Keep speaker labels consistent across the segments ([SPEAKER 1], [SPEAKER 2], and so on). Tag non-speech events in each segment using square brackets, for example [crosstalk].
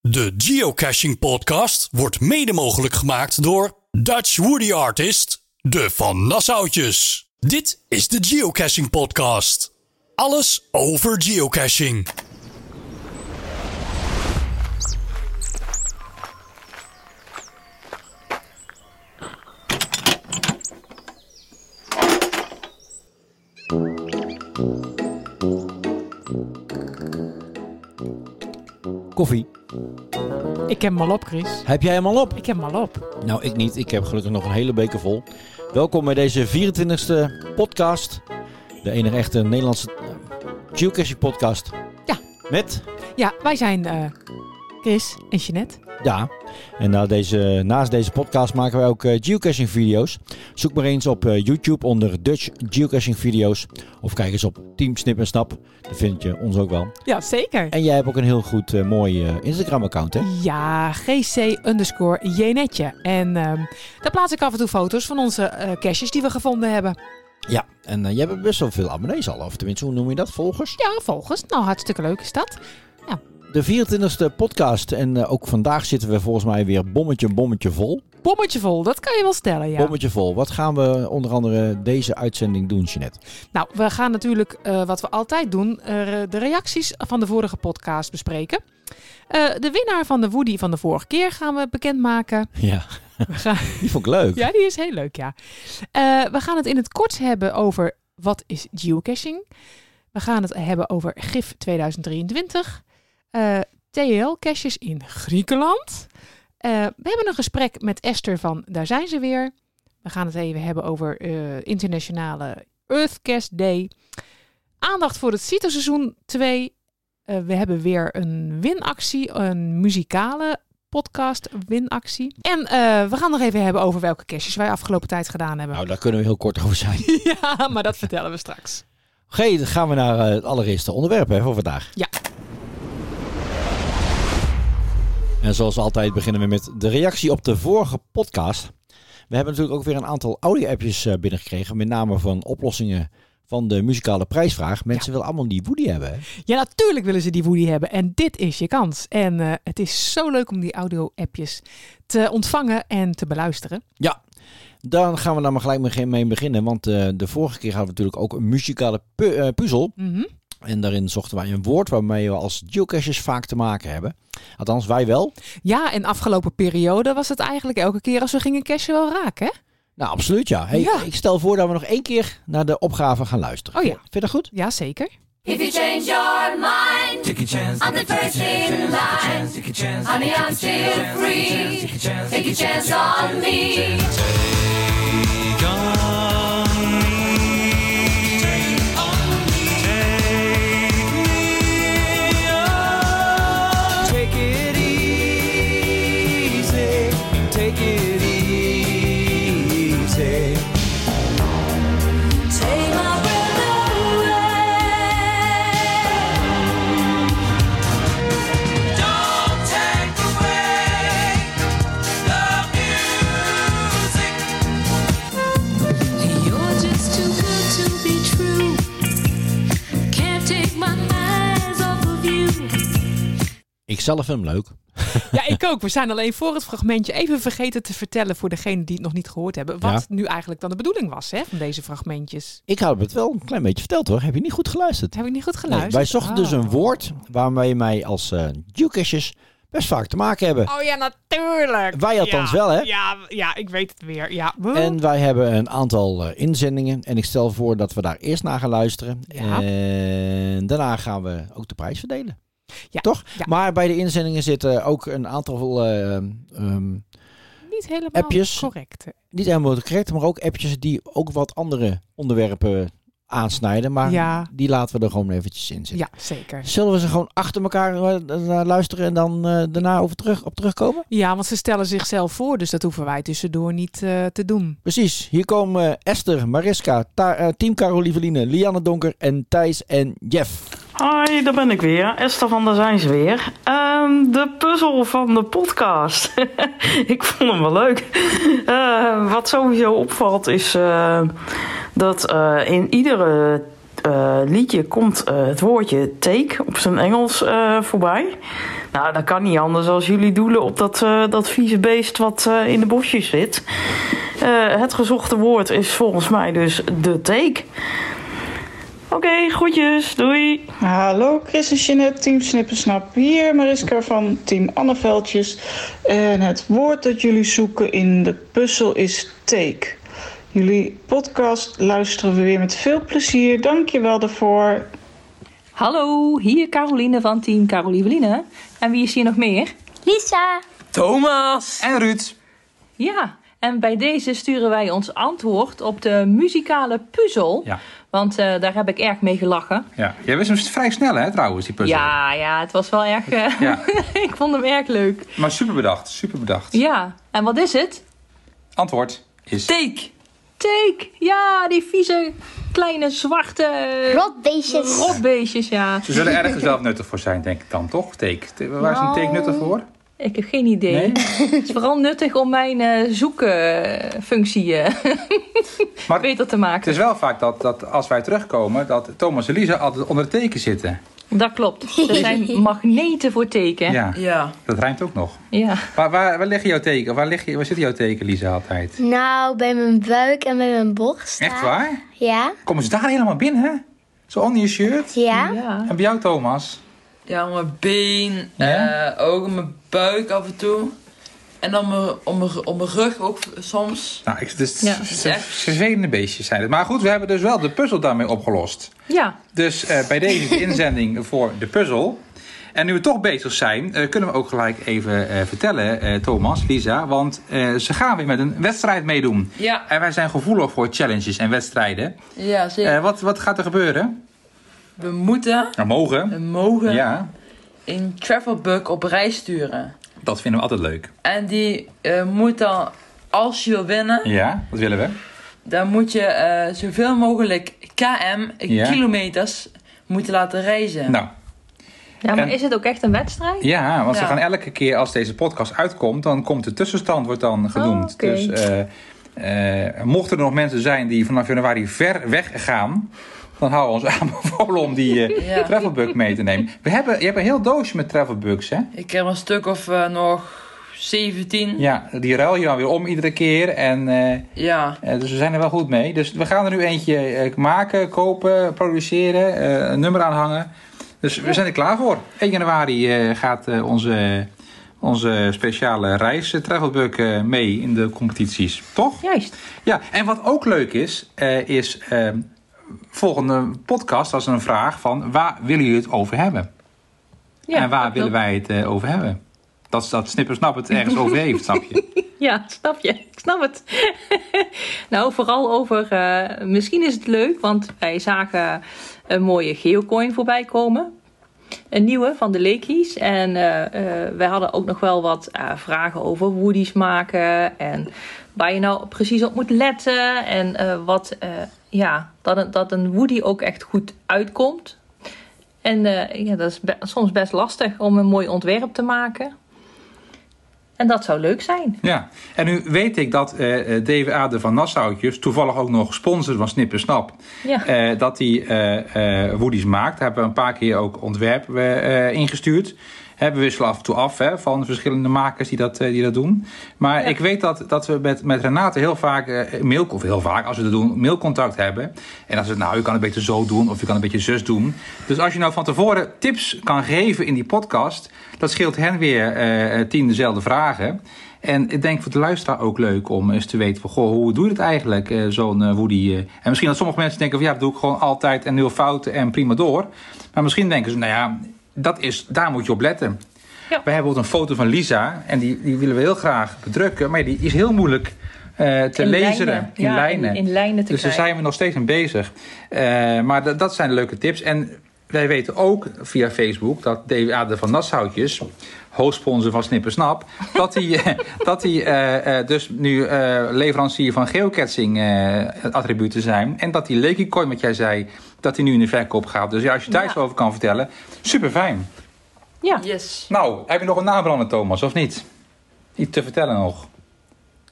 [SPEAKER 1] De Geocaching Podcast wordt mede mogelijk gemaakt door Dutch Woody Artist, de Van Nassautjes. Dit is de Geocaching Podcast. Alles over geocaching.
[SPEAKER 2] Koffie.
[SPEAKER 3] Ik heb hem al op, Chris.
[SPEAKER 2] Heb jij hem al op?
[SPEAKER 3] Ik heb hem al op.
[SPEAKER 2] Nou, ik niet. Ik heb gelukkig nog een hele beker vol. Welkom bij deze 24e podcast. De enige echte Nederlandse eh, geocaching podcast.
[SPEAKER 3] Ja.
[SPEAKER 2] Met,
[SPEAKER 3] Ja, wij zijn eh, Chris en Jeanette.
[SPEAKER 2] ja. En na deze, naast deze podcast maken wij ook eh, geocaching video's. Zoek maar eens op eh, YouTube onder Dutch geocaching video's. Of kijk eens op Team Snip en Snap. Daar vind je ons ook wel.
[SPEAKER 3] Ja, zeker.
[SPEAKER 2] En jij hebt ook een heel goed eh, mooi eh, Instagram account hè?
[SPEAKER 3] Ja, gc underscore jenetje. En ehm, daar plaats ik af en toe foto's van onze eh caches die we gevonden hebben.
[SPEAKER 2] Ja. En eh, jij hebt best wel veel abonnees al. Of tenminste, hoe noem je dat? Volgers?
[SPEAKER 3] Ja, volgens. Nou, hartstikke leuk is dat.
[SPEAKER 2] De 24e podcast en eh, ook vandaag zitten we volgens mij weer bommetje bommetje vol.
[SPEAKER 3] Bommetje vol, dat kan je wel stellen, ja.
[SPEAKER 2] Bommetje vol. Wat gaan we onder andere deze uitzending doen, Jeanette?
[SPEAKER 3] Nou, we gaan natuurlijk, eh, wat we altijd doen, eh, de reacties van de vorige podcast bespreken. Eh, de winnaar van de Woody van de vorige keer gaan we [laughs] bekendmaken.
[SPEAKER 2] Ja.
[SPEAKER 3] We gaan...
[SPEAKER 2] Die vond ik leuk.
[SPEAKER 3] Ja, die is heel leuk, ja. Eh, we gaan het in het kort hebben over wat is geocaching. We gaan het hebben over GIF 2023. eh, TL-caches in Griekenland. Eh, we hebben een gesprek met Esther van Daar zijn ze weer. We gaan het even hebben over eh, internationale Earthcast Day. Aandacht voor het CITO-seizoen 2. Eh, we hebben weer een winactie, een muzikale podcast winactie. En eh, we gaan nog even hebben over welke caches wij afgelopen tijd gedaan hebben.
[SPEAKER 2] Nou, daar kunnen we heel kort over
[SPEAKER 3] [laughs]
[SPEAKER 2] zijn. Oké,
[SPEAKER 3] Ja, maar dat vertellen we straks.
[SPEAKER 2] dan gaan we naar eh, het allereerste onderwerp hè, voor vandaag.
[SPEAKER 3] Ja.
[SPEAKER 2] En zoals altijd beginnen we met de reactie op de vorige podcast. We hebben natuurlijk ook weer een aantal audio-appjes eh, binnengekregen. Met name van oplossingen van de muzikale prijsvraag. Mensen willen allemaal die Woody hebben. hè?
[SPEAKER 3] Ja, natuurlijk willen ze die Woody hebben. En dit is je kans. En eh, het is zo leuk om die audio-appjes te ontvangen en te beluisteren.
[SPEAKER 2] Dan gaan we daar maar gelijk mee- mee beginnen. Want eh, de vorige keer hadden we natuurlijk ook een muzikale pu- eh, puzzel.
[SPEAKER 3] Mhm.
[SPEAKER 2] En daarin zochten wij een woord waarmee we als geocachers vaak te maken hebben. Althans, wij wel.
[SPEAKER 3] Ja, en afgelopen periode was het eigenlijk elke keer als we gingen cashen wel raken. Hè?
[SPEAKER 2] Nou, absoluut ja. Hey,
[SPEAKER 3] Ja.
[SPEAKER 2] Ik stel voor dat we nog één keer naar de opgave gaan luisteren.
[SPEAKER 3] Oh ja.
[SPEAKER 2] Vind je dat goed?
[SPEAKER 3] Jazeker.
[SPEAKER 4] If you change your mind,
[SPEAKER 5] Take a chance.
[SPEAKER 4] I'm the
[SPEAKER 5] take a
[SPEAKER 4] first
[SPEAKER 5] chance,
[SPEAKER 4] in
[SPEAKER 5] take a
[SPEAKER 4] line.
[SPEAKER 5] chance, Take a chance.
[SPEAKER 4] honey, I'm
[SPEAKER 5] take a
[SPEAKER 4] still
[SPEAKER 5] chance,
[SPEAKER 4] free.
[SPEAKER 5] Take a chance.
[SPEAKER 4] Take a chance on me.
[SPEAKER 5] Take on me. Take me on. Take it easy. Take it easy.
[SPEAKER 4] Take my breath away.
[SPEAKER 5] Don't take away the music.
[SPEAKER 4] You're just too good to be true. Can't take my eyes off of you.
[SPEAKER 2] Ik zelf vind hem leuk.
[SPEAKER 3] [laughs] Ja, ik ook. We zijn alleen voor het fragmentje even vergeten te vertellen voor degenen die het nog niet gehoord hebben. Wat nu eigenlijk dan de bedoeling was hè, van deze fragmentjes.
[SPEAKER 2] Ik had het wel een klein beetje verteld hoor. Heb je niet goed geluisterd?
[SPEAKER 3] Dat heb ik niet goed
[SPEAKER 2] Nee,
[SPEAKER 3] geluisterd.
[SPEAKER 2] wij zochten dus
[SPEAKER 3] Oh.
[SPEAKER 2] een woord waarmee wij als eh geocachers best vaak te maken hebben.
[SPEAKER 3] Oh ja, natuurlijk.
[SPEAKER 2] Wij althans wel, hè?
[SPEAKER 3] Ja, ja, ik weet het weer. Ja.
[SPEAKER 2] En wij hebben een aantal eh, inzendingen. En ik stel voor dat we daar eerst naar gaan luisteren.
[SPEAKER 3] Ja.
[SPEAKER 2] En daarna gaan we ook de prijs verdelen.
[SPEAKER 3] Ja,
[SPEAKER 2] Toch?
[SPEAKER 3] ja.
[SPEAKER 2] Maar bij de inzendingen zitten ook een aantal eh, ehm,
[SPEAKER 3] niet helemaal
[SPEAKER 2] appjes.
[SPEAKER 3] correct. hè.
[SPEAKER 2] niet helemaal correct, maar ook appjes die ook wat andere onderwerpen aansnijden. Maar
[SPEAKER 3] Ja.
[SPEAKER 2] die laten we er gewoon eventjes in zitten.
[SPEAKER 3] Ja, zeker.
[SPEAKER 2] Zullen we ze gewoon achter elkaar eh, naar luisteren en dan eh, daarna over terug, op terugkomen?
[SPEAKER 3] Ja, want ze stellen zichzelf voor, dus dat hoeven wij tussendoor niet eh, te doen.
[SPEAKER 2] Precies, hier komen eh, Esther, Mariska, Ta- eh, Team Carolieveline, Lianne Donker en Thijs en Jeff.
[SPEAKER 6] Hoi, daar ben ik weer. Esther van der Zijns weer. Ehm, de puzzel van de podcast. [laughs] ik vond hem wel leuk. Ehm, Eh, wat sowieso opvalt is eh, dat eh, in iedere eh, liedje komt eh, het woordje take op zijn Engels eh, voorbij. Nou, dat kan niet anders als jullie doelen op dat, eh, dat vieze beest wat eh, in de bosjes zit. Eh, het gezochte woord is volgens mij dus de take. Oké, groetjes. Doei.
[SPEAKER 7] Hallo Chris en Jeanette, team Snippersnap hier. Mariska van team Anneveldjes. En het woord dat jullie zoeken in de puzzel is take. Jullie podcast luisteren we weer met veel plezier. Dank je wel daarvoor.
[SPEAKER 8] Hallo, hier Caroline van Team Carolieveline. En wie is hier nog meer?
[SPEAKER 9] Lisa.
[SPEAKER 5] Thomas. En Ruud.
[SPEAKER 8] Ja, en bij deze sturen wij ons antwoord op de muzikale puzzel.
[SPEAKER 10] Ja.
[SPEAKER 8] Want eh, daar heb ik erg mee gelachen.
[SPEAKER 10] Ja. Jij wist hem vrij snel, hè, trouwens, die puzzel.
[SPEAKER 8] Ja, ja, het was wel erg. eh,
[SPEAKER 10] Ja.
[SPEAKER 8] [laughs] ik vond hem erg leuk.
[SPEAKER 10] Maar super bedacht, super bedacht.
[SPEAKER 8] Ja, en wat is het?
[SPEAKER 10] Antwoord is...
[SPEAKER 8] Take. Take. Ja, die vieze kleine zwarte
[SPEAKER 9] Rotbeestjes.
[SPEAKER 8] rotbeestjes, ja.
[SPEAKER 10] Ze zullen ergens wel nuttig voor zijn, denk ik dan, toch? Take. Te- Waar is een take nuttig voor?
[SPEAKER 8] Nou, Ik heb geen idee.
[SPEAKER 10] Nee?
[SPEAKER 8] Het is vooral nuttig om mijn eh, zoekfunctie eh,
[SPEAKER 10] Maar
[SPEAKER 8] [laughs] beter te
[SPEAKER 10] het
[SPEAKER 8] maken.
[SPEAKER 10] is wel vaak dat, dat als wij terugkomen, dat Thomas en Lisa altijd onder het teken zitten.
[SPEAKER 8] Dat klopt. Er zijn magneten voor teken.
[SPEAKER 10] Ja,
[SPEAKER 5] Ja.
[SPEAKER 10] dat rijmt ook nog.
[SPEAKER 8] Ja.
[SPEAKER 10] Waar, waar, waar liggen jouw teken? Waar, liggen, waar zitten jouw teken, Lisa, altijd?
[SPEAKER 9] Nou, bij mijn buik en bij mijn borst.
[SPEAKER 10] Echt waar?
[SPEAKER 9] Ja.
[SPEAKER 10] Komen ze daar helemaal binnen? Zo onder je shirt?
[SPEAKER 9] Ja.
[SPEAKER 8] Ja.
[SPEAKER 10] En bij jou, Thomas?
[SPEAKER 5] Ja, mijn been.
[SPEAKER 10] Ja?
[SPEAKER 5] eh, ook mijn buik af en toe. En dan mijn, om, mijn, om mijn rug ook soms.
[SPEAKER 10] Nou, ik, dus,
[SPEAKER 8] Ja.
[SPEAKER 10] het zijn vervelende beestjes zijn het. Maar goed, we hebben dus wel de puzzel daarmee opgelost.
[SPEAKER 8] ja.
[SPEAKER 10] Dus eh, bij deze de inzending [laughs] voor de puzzel. En nu we toch bezig zijn, eh, kunnen we ook gelijk even eh, vertellen, eh, Thomas, Lisa. Want eh, ze gaan weer met een wedstrijd meedoen.
[SPEAKER 5] Ja,
[SPEAKER 10] En wij zijn gevoelig voor challenges en wedstrijden.
[SPEAKER 5] ja zeker.
[SPEAKER 10] Eh, wat, wat gaat er gebeuren?
[SPEAKER 5] We moeten,
[SPEAKER 10] Nou, mogen.
[SPEAKER 5] we mogen
[SPEAKER 10] Ja,
[SPEAKER 5] een travelbug op reis sturen.
[SPEAKER 10] dat vinden we altijd leuk.
[SPEAKER 5] En die eh, moet dan, als je wil winnen,
[SPEAKER 10] Ja, dat willen we.
[SPEAKER 5] dan moet je eh, zoveel mogelijk km,
[SPEAKER 10] Ja.
[SPEAKER 5] kilometers, moeten laten reizen.
[SPEAKER 10] Nou,
[SPEAKER 8] ja, maar
[SPEAKER 10] En-
[SPEAKER 8] is het ook echt een wedstrijd?
[SPEAKER 10] Ja, want ze
[SPEAKER 5] Ja.
[SPEAKER 10] gaan elke keer als deze podcast uitkomt, dan komt de tussenstand wordt dan genoemd.
[SPEAKER 8] Oh, oké.
[SPEAKER 10] Dus eh, eh, mochten er nog mensen zijn die vanaf januari ver weg gaan, dan houden we ons [laughs] aanbevolen om die eh
[SPEAKER 5] Ja.
[SPEAKER 10] travelbug mee te nemen. We hebben, je hebt een heel doosje met travelbugs, hè?
[SPEAKER 5] Ik heb een stuk of eh, nog 17.
[SPEAKER 10] Ja, die ruil je dan weer om iedere keer. En, eh, eh,
[SPEAKER 5] Ja.
[SPEAKER 10] dus we zijn er wel goed mee. Dus we gaan er nu eentje eh, maken, kopen, produceren, eh, een nummer aanhangen. Dus we zijn er klaar voor. 1 januari eh, gaat eh, onze, onze speciale reis, eh, Travelbug, eh, mee in de competities. Toch?
[SPEAKER 8] Juist.
[SPEAKER 10] Ja, en wat ook leuk is, eh, is eh, volgende podcast, dat is een vraag van waar willen jullie het over hebben?
[SPEAKER 8] Ja,
[SPEAKER 10] en waar
[SPEAKER 8] dat
[SPEAKER 10] willen
[SPEAKER 8] klopt.
[SPEAKER 10] wij het eh, over hebben? Dat, is dat Snippersnap het ergens over heeft, snap je?
[SPEAKER 8] Ja, snap je. Ik snap het. [laughs] nou, vooral over... eh, misschien is het leuk, want wij zagen een mooie geocoin voorbij komen. Een nieuwe van de Lekies. En eh, eh, wij hadden ook nog wel wat eh, vragen over woodies maken. En waar je nou precies op moet letten. En eh, wat... eh, ja, dat een, dat een woody ook echt goed uitkomt. En eh, ja, dat is be- soms best lastig om een mooi ontwerp te maken. En dat zou leuk zijn.
[SPEAKER 10] Ja, en nu weet ik dat eh, eh, DWA de Van Nassautjes, toevallig ook nog sponsor van Snippersnap,
[SPEAKER 8] Ja,
[SPEAKER 10] eh, dat hij eh eh woodies maakt. Daar hebben we een paar keer ook ontwerpen we, eh, ingestuurd. Hebben we wisselen af en toe af hè, van verschillende makers die dat, eh, die dat doen. Maar
[SPEAKER 8] Ja.
[SPEAKER 10] ik weet dat, dat we met, met Renate heel vaak, eh, mail, of heel vaak als we dat doen, mailcontact hebben. En als het nou, u kan het een beetje zo doen of u kan het een beetje zus doen. Dus als je nou van tevoren tips kan geven in die podcast, dat scheelt hen weer eh, tien dezelfde vragen. En ik denk voor de luisteraar ook leuk om eens te weten van, goh, hoe doe je het eigenlijk, eh, zo'n eh, Woody? eh? En misschien dat sommige mensen denken van, ja, dat doe ik gewoon altijd en nul fouten en prima door. Maar misschien denken ze, nou ja, dat is, daar moet je op letten.
[SPEAKER 8] Ja.
[SPEAKER 10] We hebben bijvoorbeeld een foto van Lisa en die, die willen we heel graag bedrukken, maar die is heel moeilijk eh, te
[SPEAKER 8] in
[SPEAKER 10] lezen
[SPEAKER 8] lijnen.
[SPEAKER 10] in
[SPEAKER 8] Ja,
[SPEAKER 10] lijnen.
[SPEAKER 8] In, in lijnen te
[SPEAKER 10] dus daar
[SPEAKER 8] krijgen.
[SPEAKER 10] zijn we nog steeds mee bezig. Eh, maar dat- dat zijn leuke tips. En wij weten ook via Facebook dat DWA de Van Nassautjes, hoofdsponsor van Snippersnap, dat hij, eh, dat hij eh, eh, dus nu eh, leverancier van geocaching eh, attributen zijn. En dat die Lekicoin, wat jij zei, dat hij nu in de verkoop gaat. Dus ja, als je daar
[SPEAKER 8] Ja.
[SPEAKER 10] iets over kan vertellen, super fijn.
[SPEAKER 8] Ja.
[SPEAKER 5] Yes.
[SPEAKER 10] Nou, heb je nog een nabrander, Thomas, of niet? Iets te vertellen nog.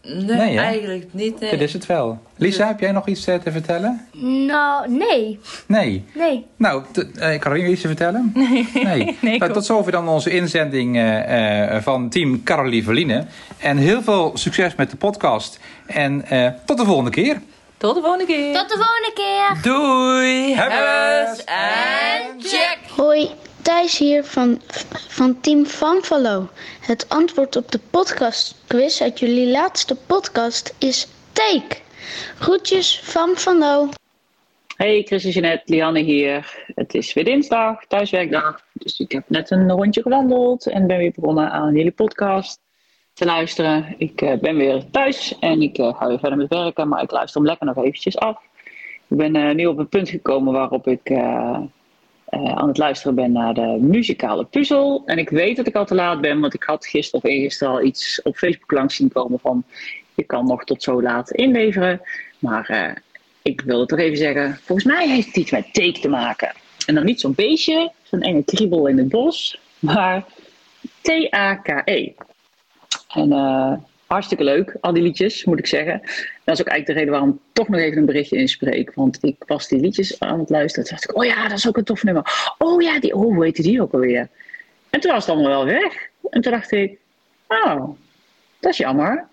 [SPEAKER 5] Nee,
[SPEAKER 10] Nee, hè?
[SPEAKER 5] eigenlijk niet. Nee.
[SPEAKER 10] Dit is het wel. Lisa, heb jij nog iets eh, te vertellen?
[SPEAKER 9] Nou, nee.
[SPEAKER 10] Nee.
[SPEAKER 9] Nee.
[SPEAKER 10] Nou, t- eh, Caroline, iets te vertellen?
[SPEAKER 9] Nee.
[SPEAKER 10] Nee. nou, tot zover dan onze inzending eh, eh, van team Caroline Verline. En heel veel succes met de podcast. En eh, tot de volgende keer.
[SPEAKER 8] Tot de volgende keer.
[SPEAKER 9] Tot de volgende keer.
[SPEAKER 10] Doei.
[SPEAKER 9] Hebbes
[SPEAKER 8] en
[SPEAKER 9] Jack. Hoi, Thijs hier van, van Team Vanvalo. Het antwoord op de podcastquiz uit jullie laatste podcast is take. Groetjes van Vanlo.
[SPEAKER 11] Hey, Chris en Jeanette, Lianne hier. Het is weer dinsdag, thuiswerkdag. Dus ik heb net een rondje gewandeld en ben weer begonnen aan jullie podcast te luisteren. Ik eh, ben weer thuis en ik eh, ga weer verder met werken, maar ik luister hem lekker nog eventjes af. Ik ben eh, nu op een punt gekomen waarop ik eh, eh, aan het luisteren ben naar de muzikale puzzel. En ik weet dat ik al te laat ben, want ik had gisteren of eergisteren al iets op Facebook langs zien komen van je kan nog tot zo laat inleveren. Maar eh, ik wil het toch even zeggen, volgens mij heeft het iets met take te maken. En dan niet zo'n beestje, zo'n enge kriebel in het bos, maar T-A-K-E. E. En eh, hartstikke leuk, al die liedjes, moet ik zeggen. Dat is ook eigenlijk de reden waarom ik toch nog even een berichtje inspreek. Want ik was die liedjes aan het luisteren. Toen dacht ik, oh ja, dat is ook een tof nummer. Oh ja, die, oh, hoe heette die ook alweer? En toen was het allemaal wel weg. En toen dacht ik, oh, dat is jammer.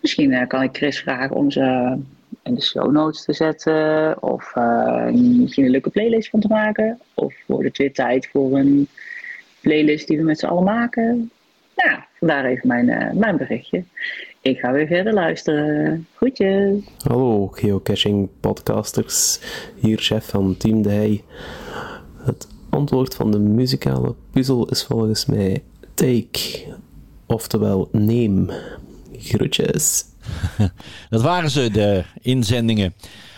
[SPEAKER 11] Misschien eh, kan ik Chris vragen om ze in de show notes te zetten. Of eh, misschien een leuke playlist van te maken. Of wordt het weer tijd voor een playlist die we met z'n allen maken. Nou, vandaar even mijn, eh, mijn berichtje. Ik ga weer verder luisteren. Groetjes!
[SPEAKER 12] Hallo geocaching podcasters, hier chef van Team De Hey. Het antwoord van de muzikale puzzel is volgens mij take, oftewel neem. Groetjes.
[SPEAKER 2] Dat waren ze, de inzendingen.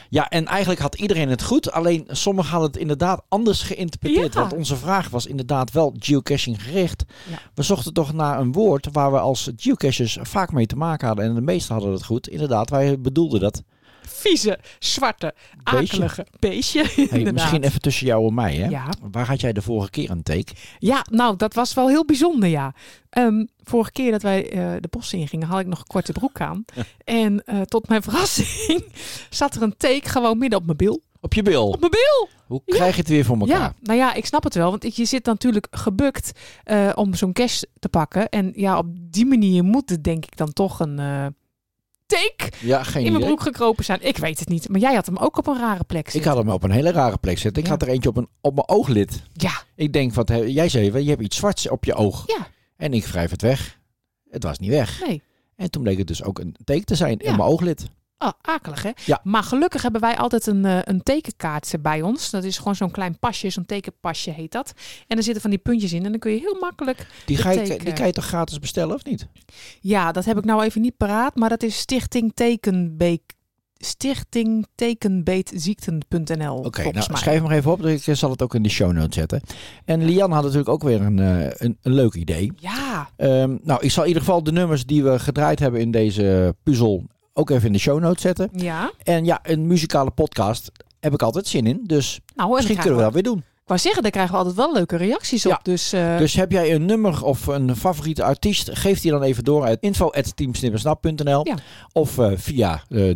[SPEAKER 2] Ja, en eigenlijk had iedereen het goed. Alleen sommigen hadden het inderdaad anders geïnterpreteerd.
[SPEAKER 3] Ja.
[SPEAKER 2] Want onze vraag was inderdaad wel geocaching gericht. We zochten toch naar een woord waar we als geocachers vaak mee te maken hadden. En de meesten hadden het goed. Inderdaad, wij bedoelden dat.
[SPEAKER 3] Vieze, zwarte, akelige beestje.
[SPEAKER 2] Hey,
[SPEAKER 3] inderdaad.
[SPEAKER 2] misschien even tussen jou en mij. Hè?
[SPEAKER 3] Ja.
[SPEAKER 2] Waar had jij de vorige keer een take?
[SPEAKER 3] Ja, nou, dat was wel heel bijzonder, ja. Ehm, vorige keer dat wij eh, de bossen ingingen, had ik nog een korte
[SPEAKER 2] [laughs]
[SPEAKER 3] broek aan. En eh, tot mijn [laughs] verrassing zat er een take gewoon midden op mijn bil.
[SPEAKER 2] Op je bil?
[SPEAKER 3] Op mijn bil!
[SPEAKER 2] Hoe krijg je het weer voor elkaar?
[SPEAKER 3] Ja, nou ja, ik snap het wel. Want ik- je zit natuurlijk gebukt eh, om zo'n cash te pakken. En ja, op die manier moet het denk ik dan toch een eh, take
[SPEAKER 2] Ja, geen
[SPEAKER 3] in mijn
[SPEAKER 2] idee.
[SPEAKER 3] broek gekropen zijn. Ik weet het niet. Maar jij had hem ook op een rare plek
[SPEAKER 2] Ik
[SPEAKER 3] zitten.
[SPEAKER 2] had hem op een hele rare plek zitten. Ik had er eentje op, een, op mijn ooglid.
[SPEAKER 3] Ja.
[SPEAKER 2] Ik denk, wat, heb- jij zei, wel, je hebt iets zwarts op je oog.
[SPEAKER 3] Ja.
[SPEAKER 2] En ik wrijf het weg. Het was niet weg.
[SPEAKER 3] Nee.
[SPEAKER 2] En toen bleek het dus ook een teken te zijn in mijn ooglid.
[SPEAKER 3] Oh, akelig hè?
[SPEAKER 2] Ja.
[SPEAKER 3] Maar gelukkig hebben wij altijd een, eh, een tekenkaart eh, bij ons. Dat is gewoon zo'n klein pasje, zo'n tekenpasje heet dat. En er zitten van die puntjes in en dan kun je heel makkelijk
[SPEAKER 2] Die,
[SPEAKER 3] de
[SPEAKER 2] ga je,
[SPEAKER 3] teken-
[SPEAKER 2] die kan je toch gratis bestellen, of niet?
[SPEAKER 3] Ja, dat heb ik nou even niet paraat, maar dat is Stichting Tekenbeek. Stichting Tekenbeetziekten.nl.
[SPEAKER 2] Oké,
[SPEAKER 3] volgens
[SPEAKER 2] nou
[SPEAKER 3] mij.
[SPEAKER 2] schrijf hem even op. Ik eh, zal het ook in de show notes zetten. En Lian had natuurlijk ook weer een, eh, een, een leuk idee.
[SPEAKER 3] Ja.
[SPEAKER 2] Ehm, nou, ik zal in ieder geval de nummers die we gedraaid hebben in deze puzzel ook even in de show notes zetten.
[SPEAKER 3] Ja.
[SPEAKER 2] En ja, een muzikale podcast heb ik altijd zin in. Dus
[SPEAKER 3] dan
[SPEAKER 2] misschien
[SPEAKER 3] krijgen
[SPEAKER 2] kunnen we
[SPEAKER 3] we-
[SPEAKER 2] dat weer doen.
[SPEAKER 3] Nou, Ik wou zeggen, daar krijgen we altijd wel leuke reacties op. Dus, eh,
[SPEAKER 2] Dus heb jij een nummer of een favoriete artiest, geef die dan even door uit info.teamsnippersnap.nl of eh, via eh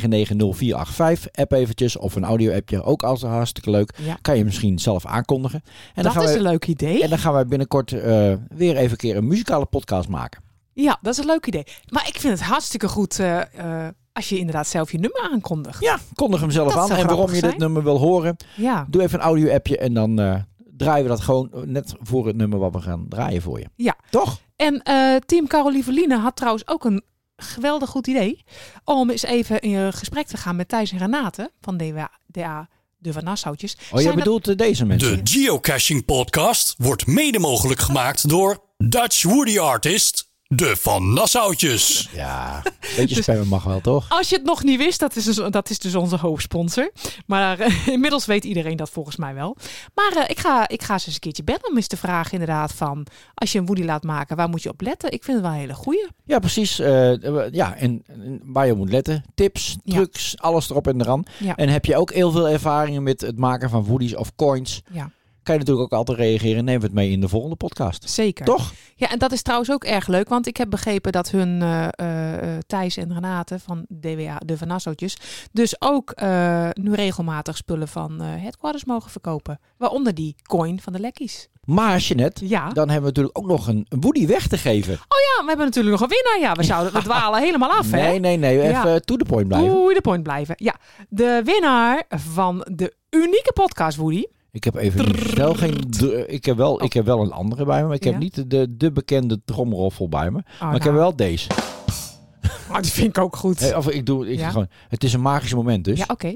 [SPEAKER 2] 0643990485 app eventjes of een audio appje, ook altijd hartstikke leuk.
[SPEAKER 3] Ja.
[SPEAKER 2] Kan je misschien zelf aankondigen.
[SPEAKER 3] Dat is
[SPEAKER 2] wij-
[SPEAKER 3] een leuk idee.
[SPEAKER 2] En dan gaan wij binnenkort eh, weer even een keer een muzikale podcast maken.
[SPEAKER 3] Ja, dat is een leuk idee. Maar ik vind het hartstikke goed eh, eh, als je inderdaad zelf je nummer aankondigt.
[SPEAKER 2] Ja, kondig hem zelf
[SPEAKER 3] Dat
[SPEAKER 2] aan
[SPEAKER 3] zou
[SPEAKER 2] en waarom
[SPEAKER 3] grappig
[SPEAKER 2] je dit
[SPEAKER 3] zijn.
[SPEAKER 2] nummer wil horen.
[SPEAKER 3] Ja.
[SPEAKER 2] Doe even een audio appje en dan eh, draaien we dat gewoon eh, net voor het nummer wat we gaan draaien voor je.
[SPEAKER 3] Ja.
[SPEAKER 2] Toch? Oh,
[SPEAKER 3] En eh team Carolieveline had trouwens ook een geweldig goed idee om eens even in eh, gesprek te gaan met Thijs en Renate van DWA, DA de Van Nassautjes.
[SPEAKER 1] jij
[SPEAKER 3] Zijn dat-
[SPEAKER 2] eh, deze mensen?
[SPEAKER 1] De Geocaching Podcast wordt mede mogelijk gemaakt door Dutch Woody Artist, de Van Nassautjes.
[SPEAKER 2] [laughs] Ja, beetje spammen mag wel, toch?
[SPEAKER 3] Als je het nog niet wist, dat is dus, dat is dus onze hoofdsponsor. Maar eh, [laughs] inmiddels weet iedereen dat volgens mij wel. Maar eh, ik, ga, ik ga ze eens een keertje bellen om eens te vragen inderdaad van... als je een woody laat maken, waar moet je op letten? Ik vind het wel een hele goeie.
[SPEAKER 2] Ja, precies. Eh, ja, en, en waar je op moet letten. Tips, trucs, alles erop en eraan.
[SPEAKER 3] Ja.
[SPEAKER 2] En heb je ook heel veel ervaringen met het maken van woodies of coins?
[SPEAKER 3] Ja.
[SPEAKER 2] Kan je natuurlijk ook altijd reageren. Neem het mee in de volgende podcast.
[SPEAKER 3] Zeker.
[SPEAKER 2] Toch?
[SPEAKER 3] Ja, en dat is trouwens ook erg leuk, want ik heb begrepen dat hun eh, eh, eh, Thijs en Renate van DWA, de Van Nassautjes, dus ook eh, nu regelmatig spullen van eh, headquarters mogen verkopen. Waaronder die coin van de lekkies.
[SPEAKER 2] Maar Jeanette, dan hebben we natuurlijk ook nog een woody weg te geven.
[SPEAKER 3] Oh ja, we hebben natuurlijk nog een winnaar. Ja, we zouden we dwalen helemaal af. hè?
[SPEAKER 2] Nee, nee, nee. Even
[SPEAKER 3] Ja.
[SPEAKER 2] to the point blijven.
[SPEAKER 3] Oei, de point blijven. Ja, de winnaar van de unieke podcast, Woody.
[SPEAKER 2] Ik heb even niet snel geen. dr- Ik heb, wel, ik heb wel een andere bij me, maar ik heb
[SPEAKER 3] Oh. Ja.
[SPEAKER 2] niet de- de, de bekende tromroffel bij me. maar ik
[SPEAKER 3] nou.
[SPEAKER 2] heb wel deze.
[SPEAKER 3] Maar Ah, die vind ik ook goed.
[SPEAKER 2] Nee, of ik doe, ik
[SPEAKER 3] Ja?
[SPEAKER 2] gewoon, het is een magisch moment dus.
[SPEAKER 3] Ja, oké.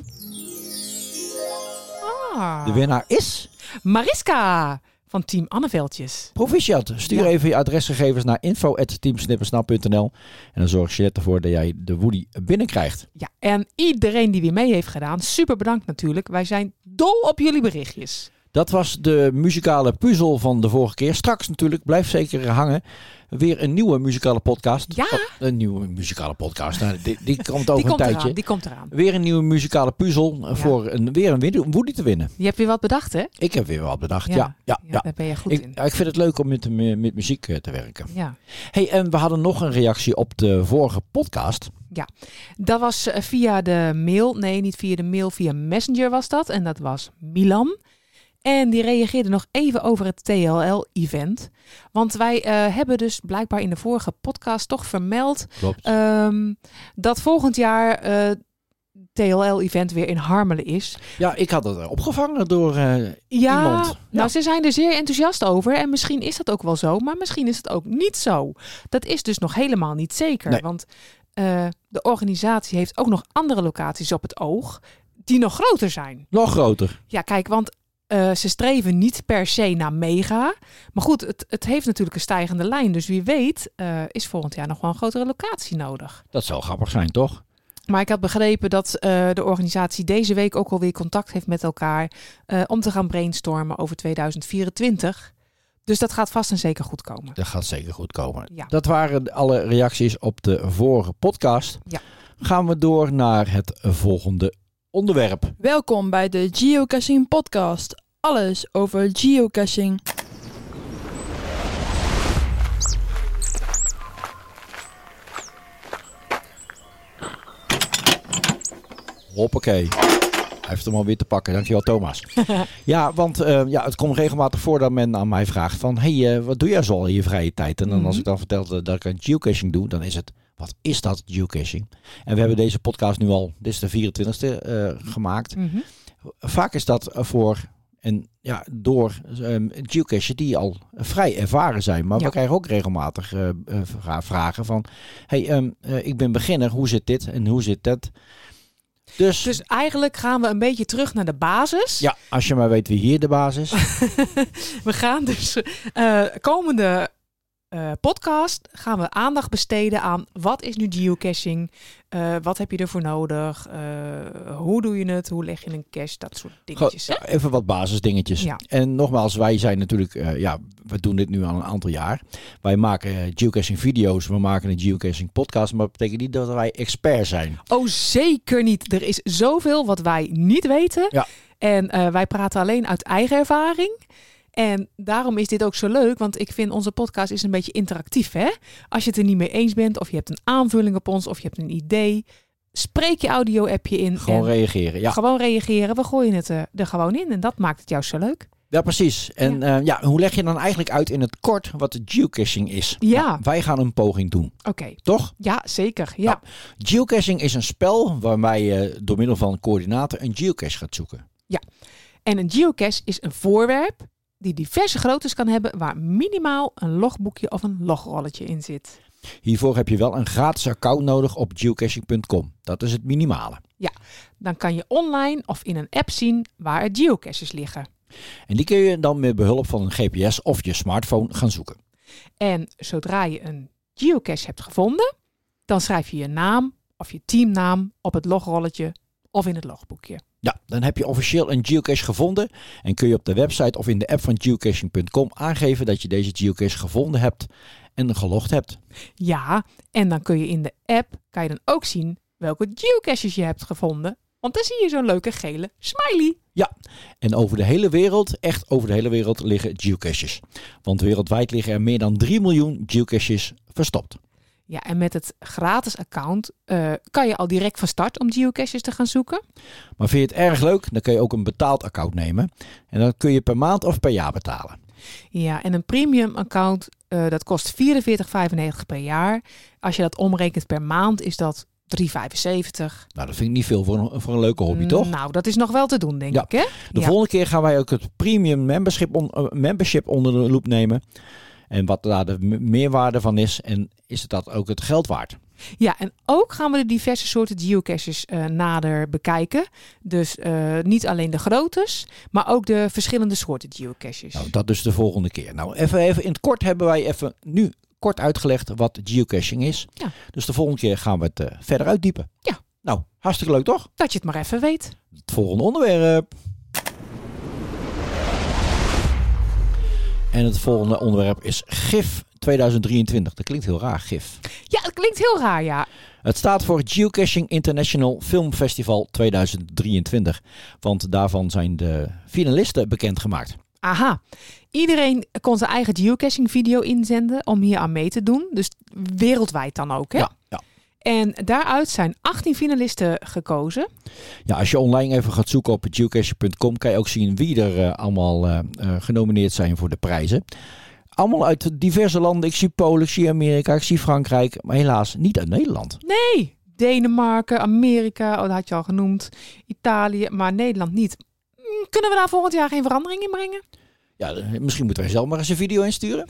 [SPEAKER 3] Ah.
[SPEAKER 2] De winnaar is.
[SPEAKER 3] Mariska van Team Anneveldjes.
[SPEAKER 2] Proficiat, stuur even je adresgegevens naar info.teamsnippersnap.nl en dan zorg je ervoor dat jij de Woody binnenkrijgt.
[SPEAKER 3] Ja, en iedereen die weer mee heeft gedaan, super bedankt natuurlijk. Wij zijn dol op jullie berichtjes.
[SPEAKER 2] Dat was de muzikale puzzel van de vorige keer. Straks natuurlijk, blijf zeker hangen, weer een nieuwe muzikale podcast. Oh,
[SPEAKER 3] Ja.
[SPEAKER 2] een nieuwe muzikale podcast, nou, die,
[SPEAKER 3] [laughs]
[SPEAKER 2] die komt over
[SPEAKER 3] die
[SPEAKER 2] een
[SPEAKER 3] komt
[SPEAKER 2] tijdje.
[SPEAKER 3] eraan, die komt eraan.
[SPEAKER 2] Weer een nieuwe muzikale puzzel eh, voor een, weer een win- om Woody te winnen.
[SPEAKER 3] Je hebt weer wat bedacht, hè?
[SPEAKER 2] Ik heb weer wat bedacht, ja.
[SPEAKER 3] Ja,
[SPEAKER 2] ja, ja,
[SPEAKER 3] daar ben je goed
[SPEAKER 2] ik, Ik vind het leuk om met, de mu- met muziek eh, te werken.
[SPEAKER 3] Ja.
[SPEAKER 2] Hey, en we hadden nog een reactie op de vorige podcast.
[SPEAKER 3] Ja, dat was eh, via de mail. Nee, niet via de mail, via Messenger was dat. En dat was Milan. En die reageerde nog even over het TLL-event. Want wij eh, hebben dus blijkbaar in de vorige podcast toch vermeld...
[SPEAKER 2] Klopt.
[SPEAKER 3] ehm, dat volgend jaar eh TLL-event weer in Harmelen is.
[SPEAKER 2] Ja, ik had het eh, opgevangen door eh,
[SPEAKER 3] Ja,
[SPEAKER 2] iemand.
[SPEAKER 3] nou ze zijn er zeer enthousiast over. En misschien is dat ook wel zo, maar misschien is het ook niet zo. Dat is dus nog helemaal niet zeker.
[SPEAKER 2] Nee.
[SPEAKER 3] Want eh, de organisatie heeft ook nog andere locaties op het oog die nog groter zijn.
[SPEAKER 2] Nog groter.
[SPEAKER 3] Ja, kijk, want eh, ze streven niet per se naar mega. Maar goed, het, het heeft natuurlijk een stijgende lijn. Dus wie weet eh, is volgend jaar nog wel een grotere locatie nodig.
[SPEAKER 2] Dat zou grappig zijn, toch?
[SPEAKER 3] Maar ik had begrepen dat eh, de organisatie deze week ook alweer contact heeft met elkaar eh, om te gaan brainstormen over 2024. Dus dat gaat vast en zeker goed komen.
[SPEAKER 2] Dat gaat zeker goed komen.
[SPEAKER 3] Ja.
[SPEAKER 2] Dat waren alle reacties op de vorige podcast.
[SPEAKER 3] Ja.
[SPEAKER 2] Gaan we door naar het volgende onderwerp.
[SPEAKER 13] Welkom bij de Geocaching Podcast. Alles over geocaching.
[SPEAKER 2] Hoppakee. Hij heeft hem alweer te pakken. Dankjewel, Thomas. ja, want eh, ja, het komt regelmatig voor dat men aan mij vraagt van... hey, eh, wat doe jij zo al in je vrije tijd? En dan als
[SPEAKER 13] Mhm.
[SPEAKER 2] ik dan vertel eh, dat ik aan geocaching doe, dan is het... Wat is dat, geocaching? En we hebben deze podcast nu al, dit is de 24e, eh, gemaakt. Vaak is dat eh, voor en ja, door ehm geocachen die al vrij ervaren zijn. Maar we krijgen ook regelmatig eh, eh, vra- vragen van... hey, ehm, eh, ik ben beginner, hoe zit dit en hoe zit dat? Dus,
[SPEAKER 3] eigenlijk gaan we een beetje terug naar de basis.
[SPEAKER 2] Ja, als je maar weet wie hier de baas is.
[SPEAKER 3] [laughs] We gaan dus eh, komende eh, podcast gaan we aandacht besteden aan wat is nu geocaching? Eh, wat heb je ervoor nodig? Eh, hoe doe je het? Hoe leg je een cache? Dat soort dingetjes.
[SPEAKER 2] Gewoon,
[SPEAKER 3] hè?
[SPEAKER 2] ja, even wat basisdingetjes.
[SPEAKER 3] Ja.
[SPEAKER 2] En nogmaals, wij zijn natuurlijk, eh, ja, we doen dit nu al een aantal jaar. Wij maken eh, geocaching video's, we maken een geocaching podcast, maar dat betekent niet dat wij expert zijn.
[SPEAKER 3] Oh, zeker niet. Er is zoveel wat wij niet weten. En eh, wij praten alleen uit eigen ervaring. En daarom is dit ook zo leuk, want ik vind onze podcast is een beetje interactief. Hè? Als je het er niet mee eens bent, of je hebt een aanvulling op ons, of je hebt een idee, spreek je audio-appje in.
[SPEAKER 2] Gewoon
[SPEAKER 3] en
[SPEAKER 2] reageren. Ja.
[SPEAKER 3] Gewoon reageren. We gooien het eh, er gewoon in. En dat maakt het juist zo leuk.
[SPEAKER 2] ja, precies. En ja. ja, hoe leg je dan eigenlijk uit in het kort wat de geocaching is?
[SPEAKER 3] Ja.
[SPEAKER 2] Nou, wij gaan een poging doen.
[SPEAKER 3] Oké.
[SPEAKER 2] Toch?
[SPEAKER 3] Ja, zeker. Ja.
[SPEAKER 2] Geocaching is een spel waarbij je door middel van coördinaten een geocache gaat zoeken.
[SPEAKER 3] Ja. En een geocache is een voorwerp die diverse groottes kan hebben, waar minimaal een logboekje of een logrolletje in zit.
[SPEAKER 2] Hiervoor heb je wel een gratis account nodig op geocaching.com. Dat is het minimale.
[SPEAKER 3] Ja, dan kan je online of in een app zien waar er geocaches liggen.
[SPEAKER 2] En die kun je dan met behulp van een GPS of je smartphone gaan zoeken.
[SPEAKER 3] En zodra je een geocache hebt gevonden, dan schrijf je je naam of je teamnaam op het logrolletje of in het logboekje.
[SPEAKER 2] Ja, dan heb je officieel een geocache gevonden en kun je op de website of in de app van geocaching.com aangeven dat je deze geocache gevonden hebt en gelogd hebt.
[SPEAKER 3] Ja, en dan kun je in de app kan je dan ook zien welke geocaches je hebt gevonden Want dan zie je zo'n leuke gele smiley.
[SPEAKER 2] Ja, en over de hele wereld, echt over de hele wereld, liggen geocaches. Want wereldwijd liggen er meer dan 3 miljoen geocaches verstopt.
[SPEAKER 3] Ja, en met het gratis account eh, kan je al direct van start om geocaches te gaan zoeken.
[SPEAKER 2] Maar vind je het erg leuk, dan kun je ook een betaald account nemen. En dan kun je per maand of per jaar betalen.
[SPEAKER 3] Ja, en een premium account, eh, dat kost 44,95 per jaar. Als je dat omrekent per maand, is dat 3,75.
[SPEAKER 2] Nou, dat vind ik niet veel voor een, voor een leuke hobby, toch?
[SPEAKER 3] Nou, dat is nog wel te doen, denk
[SPEAKER 2] Ja.
[SPEAKER 3] ik, hè?
[SPEAKER 2] De
[SPEAKER 3] Ja.
[SPEAKER 2] volgende keer gaan wij ook het premium membership, on- eh, membership onder de loep nemen. En wat daar de me- meerwaarde van is. En is het dat ook het geld waard?
[SPEAKER 3] Ja, en ook gaan we de diverse soorten geocaches eh, nader bekijken. Dus eh, niet alleen de grootes, maar ook de verschillende soorten geocaches.
[SPEAKER 2] Nou, dat dus de volgende keer. Nou, even, even in het kort hebben wij even nu kort uitgelegd wat geocaching is.
[SPEAKER 3] Ja.
[SPEAKER 2] Dus de volgende keer gaan we het eh, verder uitdiepen.
[SPEAKER 3] Ja.
[SPEAKER 2] Nou, hartstikke leuk toch?
[SPEAKER 3] Dat je het maar even weet.
[SPEAKER 2] Het volgende onderwerp. En het volgende onderwerp is GIF 2023. Dat klinkt heel raar, GIF.
[SPEAKER 3] Ja, dat klinkt heel raar, ja.
[SPEAKER 2] Het staat voor Geocaching International Film Festival 2023. Want daarvan zijn de finalisten bekendgemaakt.
[SPEAKER 3] Aha. Iedereen kon zijn eigen geocaching video inzenden om hier aan mee te doen. Dus wereldwijd dan ook, hè?
[SPEAKER 2] Ja, ja.
[SPEAKER 3] En daaruit zijn 18 finalisten gekozen.
[SPEAKER 2] Ja, als je online even gaat zoeken op geocache.com, kan je ook zien wie er eh, allemaal eh, eh, genomineerd zijn voor de prijzen. Allemaal uit diverse landen. Ik zie Polen, ik zie Amerika, ik zie Frankrijk, maar helaas niet uit Nederland.
[SPEAKER 3] Nee, Denemarken, Amerika, oh, dat had je al genoemd. Italië, maar Nederland niet. Mm, Kunnen we daar volgend jaar geen verandering in brengen?
[SPEAKER 2] Ja, eh, misschien moeten wij zelf maar eens een video insturen.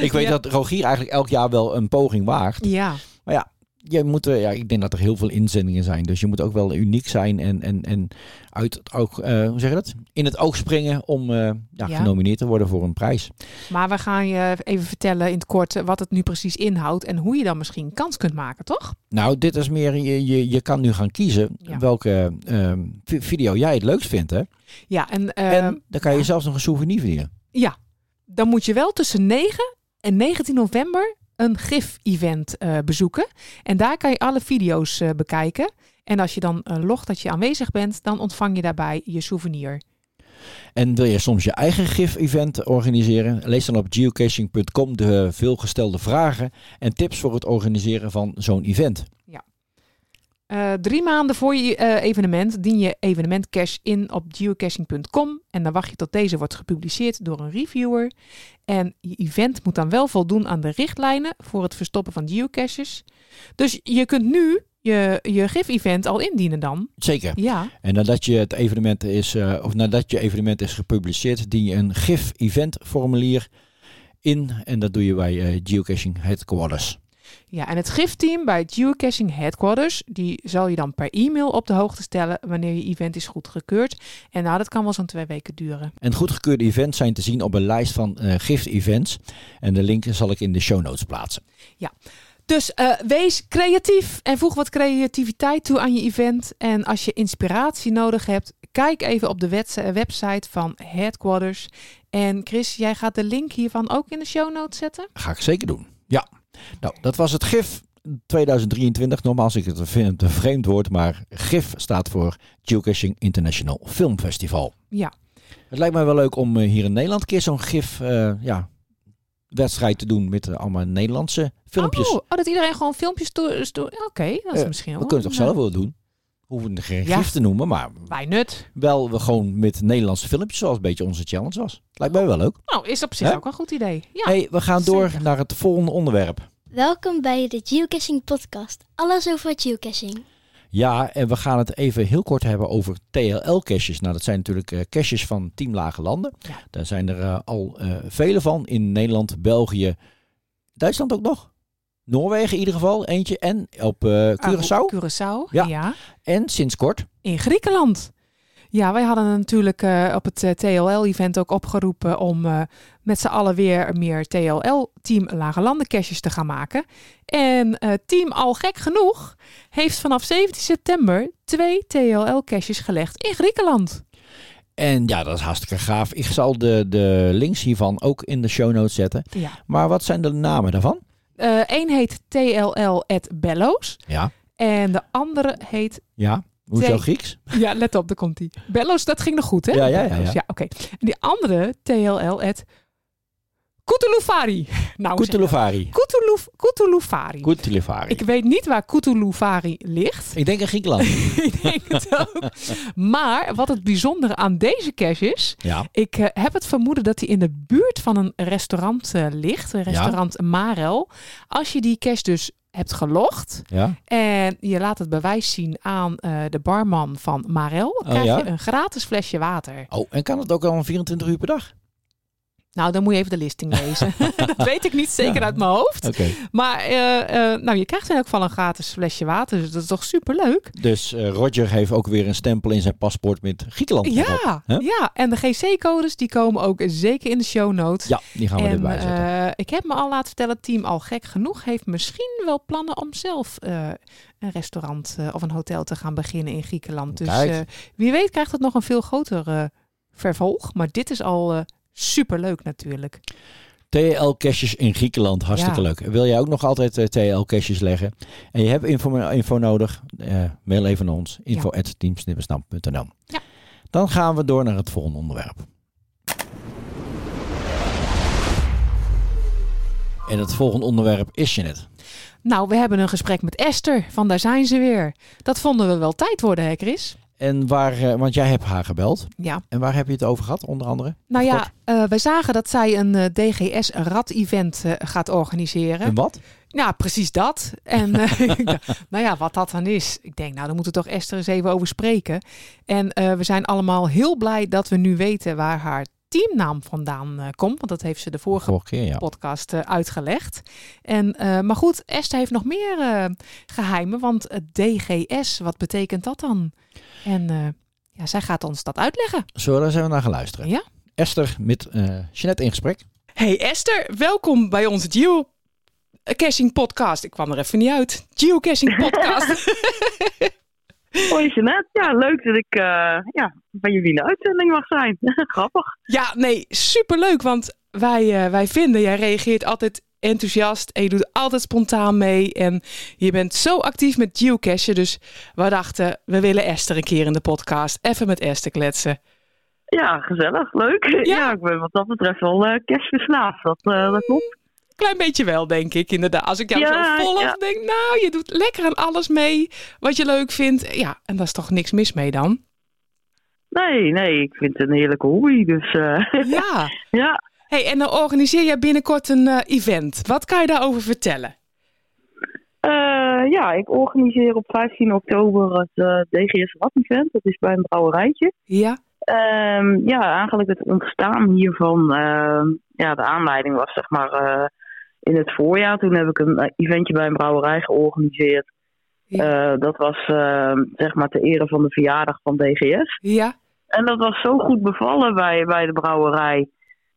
[SPEAKER 2] ik weet
[SPEAKER 3] [laughs] Ja.
[SPEAKER 2] dat Rogier eigenlijk elk jaar wel een poging waagt.
[SPEAKER 3] Ja.
[SPEAKER 2] Maar ja, je moet, eh, ja, ik denk dat er heel veel inzendingen zijn. Dus je moet ook wel uniek zijn en, en, en uit het oog, eh, hoe zeg je dat? In het oog springen om eh, ja,
[SPEAKER 3] Ja.
[SPEAKER 2] genomineerd te worden voor een prijs.
[SPEAKER 3] Maar we gaan je even vertellen in het kort eh, wat het nu precies inhoudt en hoe je dan misschien kans kunt maken, toch?
[SPEAKER 2] Nou, dit is meer, je, je, je kan nu gaan kiezen
[SPEAKER 3] Ja.
[SPEAKER 2] welke eh, vi- video jij het leukst vindt. Hè?
[SPEAKER 3] Ja, en, eh,
[SPEAKER 2] Dan kan je zelfs nog een souvenir verdienen.
[SPEAKER 3] ja, dan moet je wel tussen 9 en 19 november een GIF-event eh, bezoeken. En daar kan je alle video's eh, bekijken. En als je dan eh, logt dat je aanwezig bent, dan ontvang je daarbij je souvenir.
[SPEAKER 2] En wil je soms je eigen GIF-event organiseren? Lees dan op geocaching.com de veelgestelde vragen en tips voor het organiseren van zo'n event.
[SPEAKER 3] Eh, drie maanden voor je eh, evenement dien je evenementcash in op geocaching.com. En dan wacht je tot deze wordt gepubliceerd door een reviewer. En je event moet dan wel voldoen aan de richtlijnen voor het verstoppen van geocaches. Dus je kunt nu je, je GIF-event al indienen dan.
[SPEAKER 2] Zeker.
[SPEAKER 3] Ja.
[SPEAKER 2] En nadat je het evenement is, eh, of nadat je evenement is gepubliceerd, dien je een GIF-event formulier in. En dat doe je bij eh, Geocaching Headquarters.
[SPEAKER 3] Ja, en het GIF-team bij Geocaching Headquarters, die zal je dan per e-mail op de hoogte stellen wanneer je event is goedgekeurd. En nou, dat kan wel zo'n twee weken duren.
[SPEAKER 2] En goedgekeurde events zijn te zien op een lijst van eh GIF-events. En de link zal ik in de show notes plaatsen.
[SPEAKER 3] Ja. Dus eh, wees creatief en voeg wat creativiteit toe aan je event. En als je inspiratie nodig hebt, kijk even op de wets- eh, website van Headquarters. En Chris, jij gaat de link hiervan ook in de show notes zetten.
[SPEAKER 2] Ga ik zeker doen. Ja. Nou, dat was het GIF 2023. Nogmaals, ik vind het een vreemd woord, maar GIF staat voor Geocaching International Film Festival.
[SPEAKER 3] Ja.
[SPEAKER 2] Het lijkt mij wel leuk om eh, hier in Nederland een keer zo'n GIF eh, ja, wedstrijd te doen met eh, allemaal Nederlandse filmpjes.
[SPEAKER 3] Oh, oh, dat iedereen gewoon filmpjes doet. Oké, dat is
[SPEAKER 2] Eh,
[SPEAKER 3] misschien wel.
[SPEAKER 2] We kunnen het toch
[SPEAKER 3] een,
[SPEAKER 2] zelf wel doen. Hoeven het geen
[SPEAKER 3] Ja.
[SPEAKER 2] GIF te noemen, maar
[SPEAKER 3] eh, Bij nut.
[SPEAKER 2] wel we gewoon met Nederlandse filmpjes, zoals een beetje onze challenge was. Lijkt mij wel leuk.
[SPEAKER 3] Nou, is op zich
[SPEAKER 2] Hè?
[SPEAKER 3] ook een goed idee. Ja.
[SPEAKER 2] hey, we gaan door naar het volgende onderwerp.
[SPEAKER 14] Welkom bij de Geocaching Podcast. Alles over geocaching.
[SPEAKER 2] Ja, en we gaan het even heel kort hebben over TLL-caches. Nou, dat zijn natuurlijk eh, caches van tien lage landen. Daar zijn er eh, al eh, vele van in Nederland, België, Duitsland ook nog. Noorwegen in ieder geval, eentje. En op
[SPEAKER 3] Ah,
[SPEAKER 2] eh, Curaçao.
[SPEAKER 3] Curaçao,
[SPEAKER 2] Ja.
[SPEAKER 3] ja.
[SPEAKER 2] En sinds kort.
[SPEAKER 3] In Griekenland. Ja, wij hadden natuurlijk eh, op het eh, TLL-event ook opgeroepen om eh, met z'n allen weer meer TLL-team Lage Landen caches te gaan maken. En eh team Al Gek Genoeg heeft vanaf 17 september twee TLL-caches gelegd in Griekenland.
[SPEAKER 2] En ja, dat is hartstikke gaaf. Ik zal de, de links hiervan ook in de show notes zetten.
[SPEAKER 3] Ja.
[SPEAKER 2] Maar wat zijn de namen daarvan?
[SPEAKER 3] Eh, Eén heet TLL at Bellows
[SPEAKER 2] Ja.
[SPEAKER 3] en de andere heet
[SPEAKER 2] Ja. Hoezo
[SPEAKER 3] Twee-
[SPEAKER 2] Grieks?
[SPEAKER 3] Ja, let op, daar komt die. Bellows, dat ging nog goed, hè?
[SPEAKER 2] Ja, ja, ja,
[SPEAKER 3] Bellows,
[SPEAKER 2] ja.
[SPEAKER 3] oké. En die andere, TLL, at Kutulufari. [laughs] Nou, zeg-
[SPEAKER 2] Kutulufari.
[SPEAKER 3] Kutuluf, Kutulufari.
[SPEAKER 2] Kutulufari.
[SPEAKER 3] Ik weet niet waar Kutulufari ligt.
[SPEAKER 2] Ik denk in Griekenland.
[SPEAKER 3] [laughs] Maar wat het bijzondere aan deze cache
[SPEAKER 2] [laughs]
[SPEAKER 3] is.
[SPEAKER 2] Ja.
[SPEAKER 3] Ik eh, heb het vermoeden dat hij in de buurt van een restaurant eh, ligt. Een restaurant Marel. Als je die cache dus hebt gelogd.
[SPEAKER 2] Ja.
[SPEAKER 3] En je laat het bewijs zien aan eh, de barman van Marel. krijg
[SPEAKER 2] Oh, ja?
[SPEAKER 3] je een gratis flesje water.
[SPEAKER 2] Oh, en kan het ook al 24 uur per dag?
[SPEAKER 3] Nou, dan moet je even de listing
[SPEAKER 2] [laughs]
[SPEAKER 3] lezen. dat weet ik niet zeker uit mijn hoofd.
[SPEAKER 2] Oké.
[SPEAKER 3] Maar eh, eh, nou, je krijgt in elk geval een gratis flesje water. Dus dat is toch superleuk?
[SPEAKER 2] Dus eh, Roger heeft ook weer een stempel in zijn paspoort met Griekenland. erop,
[SPEAKER 3] Ja,
[SPEAKER 2] hè?
[SPEAKER 3] ja, en de GC-codes die komen ook zeker in de show notes.
[SPEAKER 2] Ja, die gaan we
[SPEAKER 3] en,
[SPEAKER 2] erbij zetten.
[SPEAKER 3] eh, ik heb me al laten vertellen, het team al gek genoeg heeft misschien wel plannen om zelf eh, een restaurant eh, of een hotel te gaan beginnen in Griekenland. Dus
[SPEAKER 2] Kijk.
[SPEAKER 3] eh, wie weet krijgt het nog een veel groter eh, vervolg. Maar dit is al eh superleuk natuurlijk.
[SPEAKER 2] TL-caches in Griekenland, hartstikke
[SPEAKER 3] Ja.
[SPEAKER 2] leuk. Wil jij ook nog altijd TL-caches leggen? En je hebt info, info nodig, eh, mail even naar ons. Info
[SPEAKER 3] Ja.
[SPEAKER 2] at teamsnippersnap.nl. Dan gaan we door naar het volgende onderwerp. En het volgende onderwerp is je net.
[SPEAKER 3] Nou, we hebben een gesprek met Esther, van daar zijn ze weer. Dat vonden we wel tijd worden, hè Chris?
[SPEAKER 2] En waar, eh, want jij hebt haar gebeld.
[SPEAKER 3] Ja.
[SPEAKER 2] En waar heb je het over gehad, onder andere?
[SPEAKER 3] Nou
[SPEAKER 2] Of
[SPEAKER 3] ja,
[SPEAKER 2] kort?
[SPEAKER 3] eh, wij zagen dat zij een eh, DGS-rad-event eh, gaat organiseren.
[SPEAKER 2] En wat?
[SPEAKER 3] Ja, precies dat. En eh, [laughs] ik dacht, nou ja, wat dat dan is. Ik denk, nou, daar moeten we toch Esther eens even over spreken. En eh, we zijn allemaal heel blij dat we nu weten waar haar teamnaam vandaan eh, komt. Want dat heeft ze de vorige,
[SPEAKER 2] Vorige keer, Oh, ja.
[SPEAKER 3] podcast eh, uitgelegd. En, eh, maar goed, Esther heeft nog meer eh, geheimen. Want eh, DGS, wat betekent dat dan? En eh, ja, zij gaat ons dat uitleggen.
[SPEAKER 2] Zullen we daar eens even naar gaan luisteren?
[SPEAKER 3] Ja.
[SPEAKER 2] Esther met eh Jeanette in gesprek.
[SPEAKER 3] Hey Esther, welkom bij onze Geocaching podcast. Ik kwam er even niet uit. Geocaching [laughs] podcast.
[SPEAKER 15] Hoi Jeanette, ja, leuk dat ik eh, ja, bij jullie in de uitzending mag zijn. [laughs] Grappig.
[SPEAKER 3] ja, nee, superleuk, want wij, eh, wij vinden, jij reageert altijd enthousiast en je doet altijd spontaan mee. En je bent zo actief met geocachen, dus we dachten, we willen Esther een keer in de podcast. Even met Esther kletsen.
[SPEAKER 15] Ja, gezellig, leuk. Ja, ik ben wat dat betreft wel eh kerstverslaafd, dat, eh, dat klopt.
[SPEAKER 3] Klein beetje wel, denk ik, inderdaad. Als ik jou
[SPEAKER 15] Ja,
[SPEAKER 3] zo volg,
[SPEAKER 15] ja.
[SPEAKER 3] denk nou, je doet lekker aan alles mee wat je leuk vindt. Ja, en daar is toch niks mis mee dan?
[SPEAKER 15] [laughs] Nee, nee, ik vind het een heerlijke hobby, dus eh, [laughs]
[SPEAKER 3] Ja.
[SPEAKER 15] ja.
[SPEAKER 3] Hey, en dan organiseer jij binnenkort een eh, event. Wat kan je daarover vertellen?
[SPEAKER 15] Eh, ja, ik organiseer op 15 oktober het eh, DGS Rad Event. Dat is bij een brouwerijtje. Ehm,
[SPEAKER 3] Ja.
[SPEAKER 15] ja, eigenlijk het ontstaan hiervan. ehm, ja, de aanleiding was zeg maar eh, in het voorjaar. Toen heb ik een eh, eventje bij een brouwerij georganiseerd. Eh, dat was ehm, zeg maar ter ere van de verjaardag van DGS.
[SPEAKER 3] Ja.
[SPEAKER 15] En dat was zo goed bevallen bij, bij de brouwerij.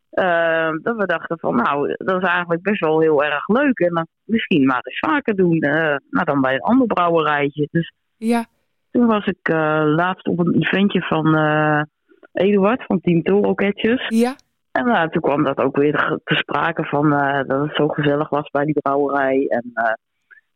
[SPEAKER 15] eh, dat we dachten van, nou, dat is eigenlijk best wel heel erg leuk. En dan misschien maar eens vaker doen. eh nou, dan bij een ander brouwerijtje. Dus
[SPEAKER 3] Ja.
[SPEAKER 15] toen was ik eh, laatst op een eventje van eh, Eduard van Team Tolroketjes.
[SPEAKER 3] Ja.
[SPEAKER 15] En nou, toen kwam dat ook weer ge- te sprake van eh, dat het zo gezellig was bij die brouwerij. En eh,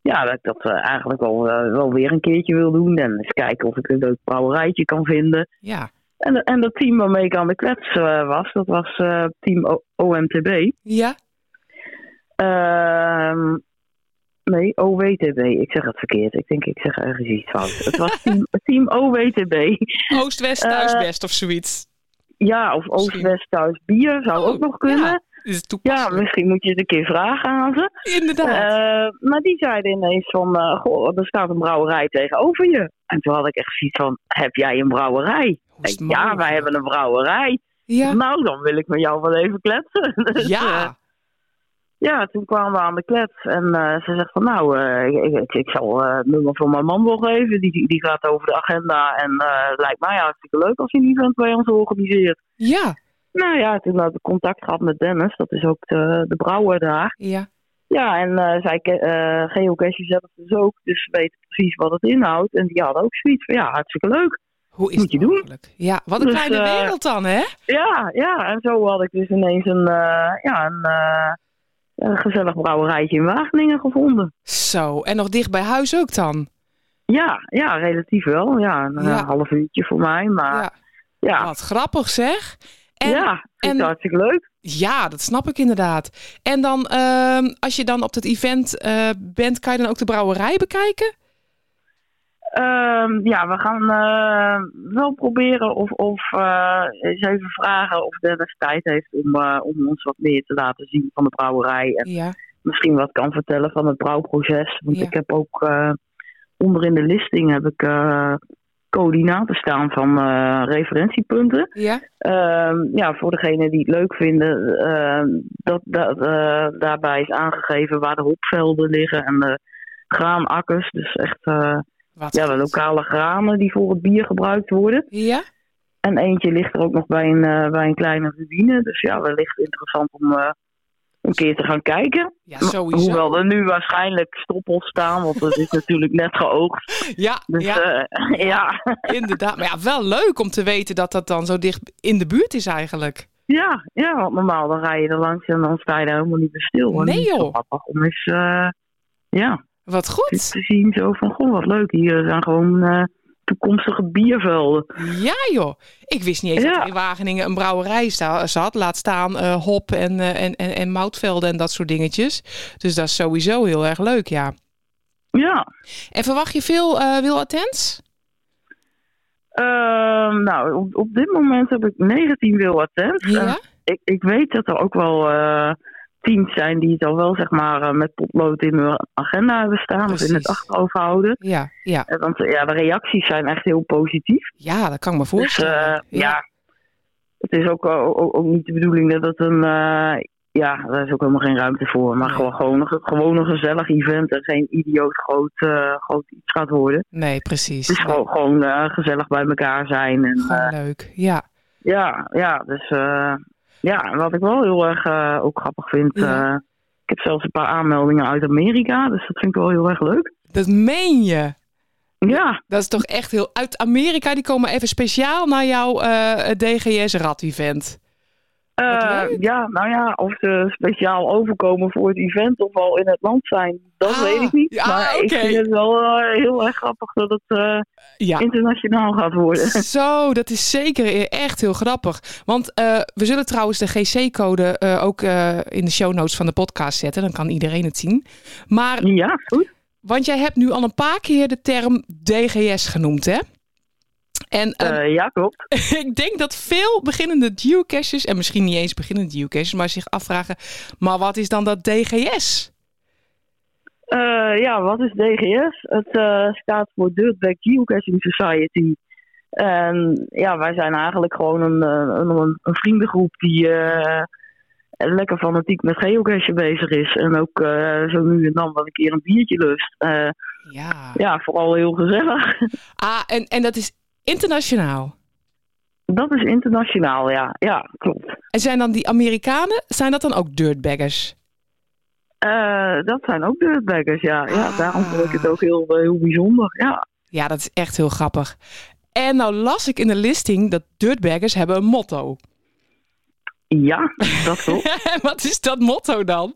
[SPEAKER 15] ja, dat ik dat eh, eigenlijk wel, eh, wel weer een keertje wil doen. En eens kijken of ik een leuk brouwerijtje kan vinden.
[SPEAKER 3] Ja.
[SPEAKER 15] En, de- en dat team waarmee ik aan de klets eh, was, dat was eh, team O- OMTB.
[SPEAKER 3] Ja.
[SPEAKER 15] Ehm, nee, OWTB. Ik zeg het verkeerd. Ik denk ik zeg ergens iets fout. Het was team, team OWTB.
[SPEAKER 3] [laughs] Oost-West,
[SPEAKER 15] Eh,
[SPEAKER 3] thuis-West of zoiets. Oh,
[SPEAKER 15] Ja, of Oost-West thuis bier zou ook nog kunnen. Ja, Eh, misschien moet je het een keer vragen aan ze.
[SPEAKER 3] Inderdaad.
[SPEAKER 15] maar die zeiden ineens van, eh, goh, er staat een brouwerij tegenover je. En toen had ik echt zoiets van, heb jij een brouwerij? Ik, ja, wij hebben een brouwerij. Nou, dan wil ik met jou wel even kletsen. [laughs] Dus,
[SPEAKER 3] Ja.
[SPEAKER 15] eh, ja, toen kwamen we aan de klets en eh, ze zegt van nou, eh, ik, ik, ik zal eh, het nummer van mijn man wel geven. Die, die gaat over de agenda en eh, het lijkt mij hartstikke leuk als je een event bij ons organiseert.
[SPEAKER 3] Ja.
[SPEAKER 15] Nou ja, toen had ik contact gehad met Dennis, dat is ook de, de brouwer daar.
[SPEAKER 3] Ja.
[SPEAKER 15] Ja, en eh, zij ke- eh geocache zelf dus ook, dus ze weten precies wat het inhoudt. En die hadden ook zoiets van ja, hartstikke leuk.
[SPEAKER 3] Hoe is
[SPEAKER 15] Moet je doen.
[SPEAKER 3] Ja, wat een
[SPEAKER 15] Dus,
[SPEAKER 3] kleine
[SPEAKER 15] eh,
[SPEAKER 3] wereld dan, hè?
[SPEAKER 15] Ja, ja, en zo had ik dus ineens een, eh, ja, een, eh, een gezellig brouwerijtje in Wageningen gevonden.
[SPEAKER 3] Zo, en nog dicht bij huis ook dan?
[SPEAKER 15] Ja, ja, relatief wel. Ja, een
[SPEAKER 3] Ja.
[SPEAKER 15] eh, half uurtje voor mij, maar Ah, ja.
[SPEAKER 3] Wat grappig zeg.
[SPEAKER 15] Ja, vind ik hartstikke leuk.
[SPEAKER 3] Ja, dat snap ik inderdaad. En dan, ehm, als je dan op dat event eh, bent, kan je dan ook de brouwerij bekijken?
[SPEAKER 15] Ehm, ja, we gaan eh, wel proberen of, of eh, eens even vragen of Dennis tijd heeft om, eh, om ons wat meer te laten zien van de brouwerij. En
[SPEAKER 3] Ja.
[SPEAKER 15] misschien wat kan vertellen van het brouwproces. Want ik heb ook eh, onder in de listing heb ik eh, coördinaten staan van eh, referentiepunten.
[SPEAKER 3] Ja.
[SPEAKER 15] Ehm, ja, voor degenen die het leuk vinden, ehm, dat, dat, eh, daarbij is aangegeven waar de hopvelden liggen en de graanakkers. Dus echt eh, ja, de lokale granen die voor het bier gebruikt worden.
[SPEAKER 3] Ja.
[SPEAKER 15] En eentje ligt er ook nog bij een, eh, bij een kleine ruïne. Dus ja, wellicht interessant om eh, een keer te gaan kijken.
[SPEAKER 3] Ja,
[SPEAKER 15] sowieso. Hoewel er nu waarschijnlijk stoppels staan, want het is natuurlijk net geoogst.
[SPEAKER 3] Ja,
[SPEAKER 15] Dus,
[SPEAKER 3] ja.
[SPEAKER 15] eh, [laughs] ja.
[SPEAKER 3] Inderdaad. Maar ja, wel leuk om te weten dat dat dan zo dicht in de buurt is eigenlijk.
[SPEAKER 15] Ja, ja, want normaal dan rij je er langs en dan sta je daar helemaal niet meer stil. En
[SPEAKER 3] Nee,
[SPEAKER 15] het is wel
[SPEAKER 3] joh.
[SPEAKER 15] Grappig om eens, eh, ja.
[SPEAKER 3] Wat goed.
[SPEAKER 15] Te zien zo van, goh, wat leuk. Hier zijn gewoon eh, toekomstige biervelden.
[SPEAKER 3] Ja joh, ik wist niet eens dat er in Wageningen een brouwerij sta- zat. Laat staan eh, hop en, eh, en, en, en moutvelden en dat soort dingetjes. Dus dat is sowieso heel erg leuk, ja.
[SPEAKER 15] Ja.
[SPEAKER 3] En verwacht je veel eh wil attends?
[SPEAKER 15] Ehm, nou, op, op dit moment heb ik 19 wil attend. En Ik, ik weet dat er ook wel eh teams zijn die het al wel, zeg maar, eh, met potlood in hun agenda hebben staan. Of in het achterhoofd houden.
[SPEAKER 3] Ja, ja.
[SPEAKER 15] Eh, Want eh, ja, de reacties zijn echt heel positief.
[SPEAKER 3] Ja, dat kan ik me voorstellen.
[SPEAKER 15] Dus, eh, ja. Het is ook, ook, ook- ook niet de bedoeling dat het een... eh, ja, daar is ook helemaal geen ruimte voor. Maar gewoon, gewoon, een- gewoon een gezellig event en geen idioot groot, eh, groot iets gaat worden.
[SPEAKER 3] Nee, precies.
[SPEAKER 15] Het is gewoon, gewoon eh, gezellig bij elkaar zijn. En,
[SPEAKER 3] Gewoon
[SPEAKER 15] eh,
[SPEAKER 3] leuk, ja.
[SPEAKER 15] ja, ja, dus eh, ja, wat ik wel heel erg eh, ook grappig vind. eh, ik heb zelfs een paar aanmeldingen uit Amerika, dus dat vind ik wel heel erg leuk.
[SPEAKER 3] Dat meen je?
[SPEAKER 15] Ja.
[SPEAKER 3] Dat is toch echt heel... Uit Amerika, die komen even speciaal naar jouw eh, DGS Rad Event.
[SPEAKER 15] Eh, ja, nou ja, of ze speciaal overkomen voor het event of al in het land zijn, dat weet ik niet.
[SPEAKER 3] Ah, ja,
[SPEAKER 15] maar ik
[SPEAKER 3] oké.
[SPEAKER 15] vind het wel eh, heel erg grappig dat het eh, internationaal gaat [laughs] worden.
[SPEAKER 3] Zo, dat is zeker eh, echt heel grappig. Want eh, we zullen trouwens de GC-code eh, ook eh, in de show notes van de podcast zetten. Dan kan iedereen het zien. Maar,
[SPEAKER 15] ja, goed.
[SPEAKER 3] Want jij hebt nu al een paar keer de term DGS genoemd, hè? En,
[SPEAKER 15] eh, ja, klopt.
[SPEAKER 3] [laughs] ik denk dat veel beginnende geocaches, en misschien niet eens beginnende geocaches, maar zich afvragen, maar wat is dan dat DGS?
[SPEAKER 15] Eh, ja, wat is DGS? Het eh, staat voor Dirtbag Geocaching Society. En ja, wij zijn eigenlijk gewoon een, eh, een, een, een vriendengroep die eh, lekker fanatiek met geocachen bezig is. En ook eh, zo nu en dan wel een keer een biertje lust. Eh,
[SPEAKER 3] ja.
[SPEAKER 15] vooral heel gezellig. [laughs]
[SPEAKER 3] Ah, en, en dat is internationaal.
[SPEAKER 15] Dat is internationaal, ja. Ja, klopt.
[SPEAKER 3] En zijn dan die Amerikanen, zijn dat dan ook dirtbaggers?
[SPEAKER 15] Eh, dat zijn ook dirtbaggers, ja.
[SPEAKER 3] Ah.
[SPEAKER 15] ja daarom vond ik het ook heel, eh, heel bijzonder. Ja.
[SPEAKER 3] Ja, dat is echt heel grappig. En nou las ik in de listing dat dirtbaggers hebben een motto. [laughs]
[SPEAKER 15] Ja, dat
[SPEAKER 3] klopt. en wat is dat motto dan?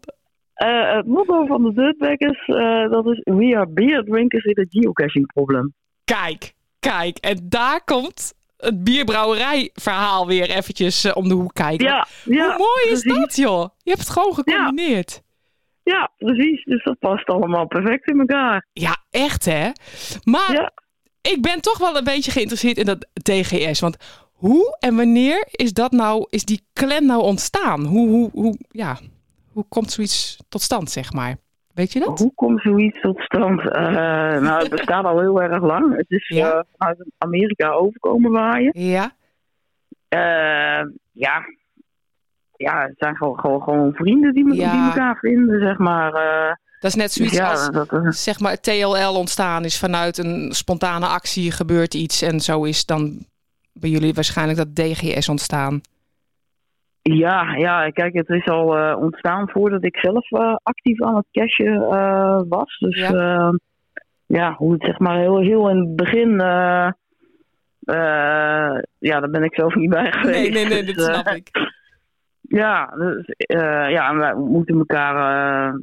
[SPEAKER 15] Eh, het motto van de dirtbaggers, eh, dat is... We are beer drinkers in a geocaching problem.
[SPEAKER 3] Kijk, kijk. En daar komt het bierbrouwerijverhaal weer eventjes eh, om de hoek kijken.
[SPEAKER 15] Ja, ja,
[SPEAKER 3] Hoe mooi is dat, joh? Je hebt het gewoon gecombineerd.
[SPEAKER 15] Ja, precies. Dus dat past allemaal perfect in elkaar.
[SPEAKER 3] Ja, echt hè? Maar ik ben toch wel een beetje geïnteresseerd in dat DGS. Want hoe en wanneer is, dat nou, is die clan nou ontstaan? Hoe, hoe, hoe, ja, hoe komt zoiets tot stand, zeg maar? Weet je dat?
[SPEAKER 15] Hoe komt zoiets tot stand? Eh, nou, het bestaat al heel erg lang. Het is eh, vanuit Amerika overkomen waaien.
[SPEAKER 3] Ja.
[SPEAKER 15] Eh, ja. Ja, het zijn gewoon, gewoon, gewoon vrienden die, me-
[SPEAKER 3] Ja.
[SPEAKER 15] die elkaar vinden, zeg maar. eh.
[SPEAKER 3] Dat is net zoiets
[SPEAKER 15] Ja,
[SPEAKER 3] als
[SPEAKER 15] dat eh, is-
[SPEAKER 3] zeg maar, het TLL ontstaan is vanuit een spontane actie, gebeurt iets. En zo is dan bij jullie waarschijnlijk dat DGS ontstaan.
[SPEAKER 15] Ja, ja, kijk, het is al eh, ontstaan voordat ik zelf eh, actief aan het cashen eh, was. Dus
[SPEAKER 3] Ja.
[SPEAKER 15] ja. ja, hoe het zeg maar heel, heel in het begin. eh, eh, ja, daar ben ik zelf niet bij geweest.
[SPEAKER 3] Nee, nee, nee,
[SPEAKER 15] Dus,
[SPEAKER 3] dat snap
[SPEAKER 15] eh,
[SPEAKER 3] ik.
[SPEAKER 15] Ja, dus, eh, ja, en wij moeten elkaar eh,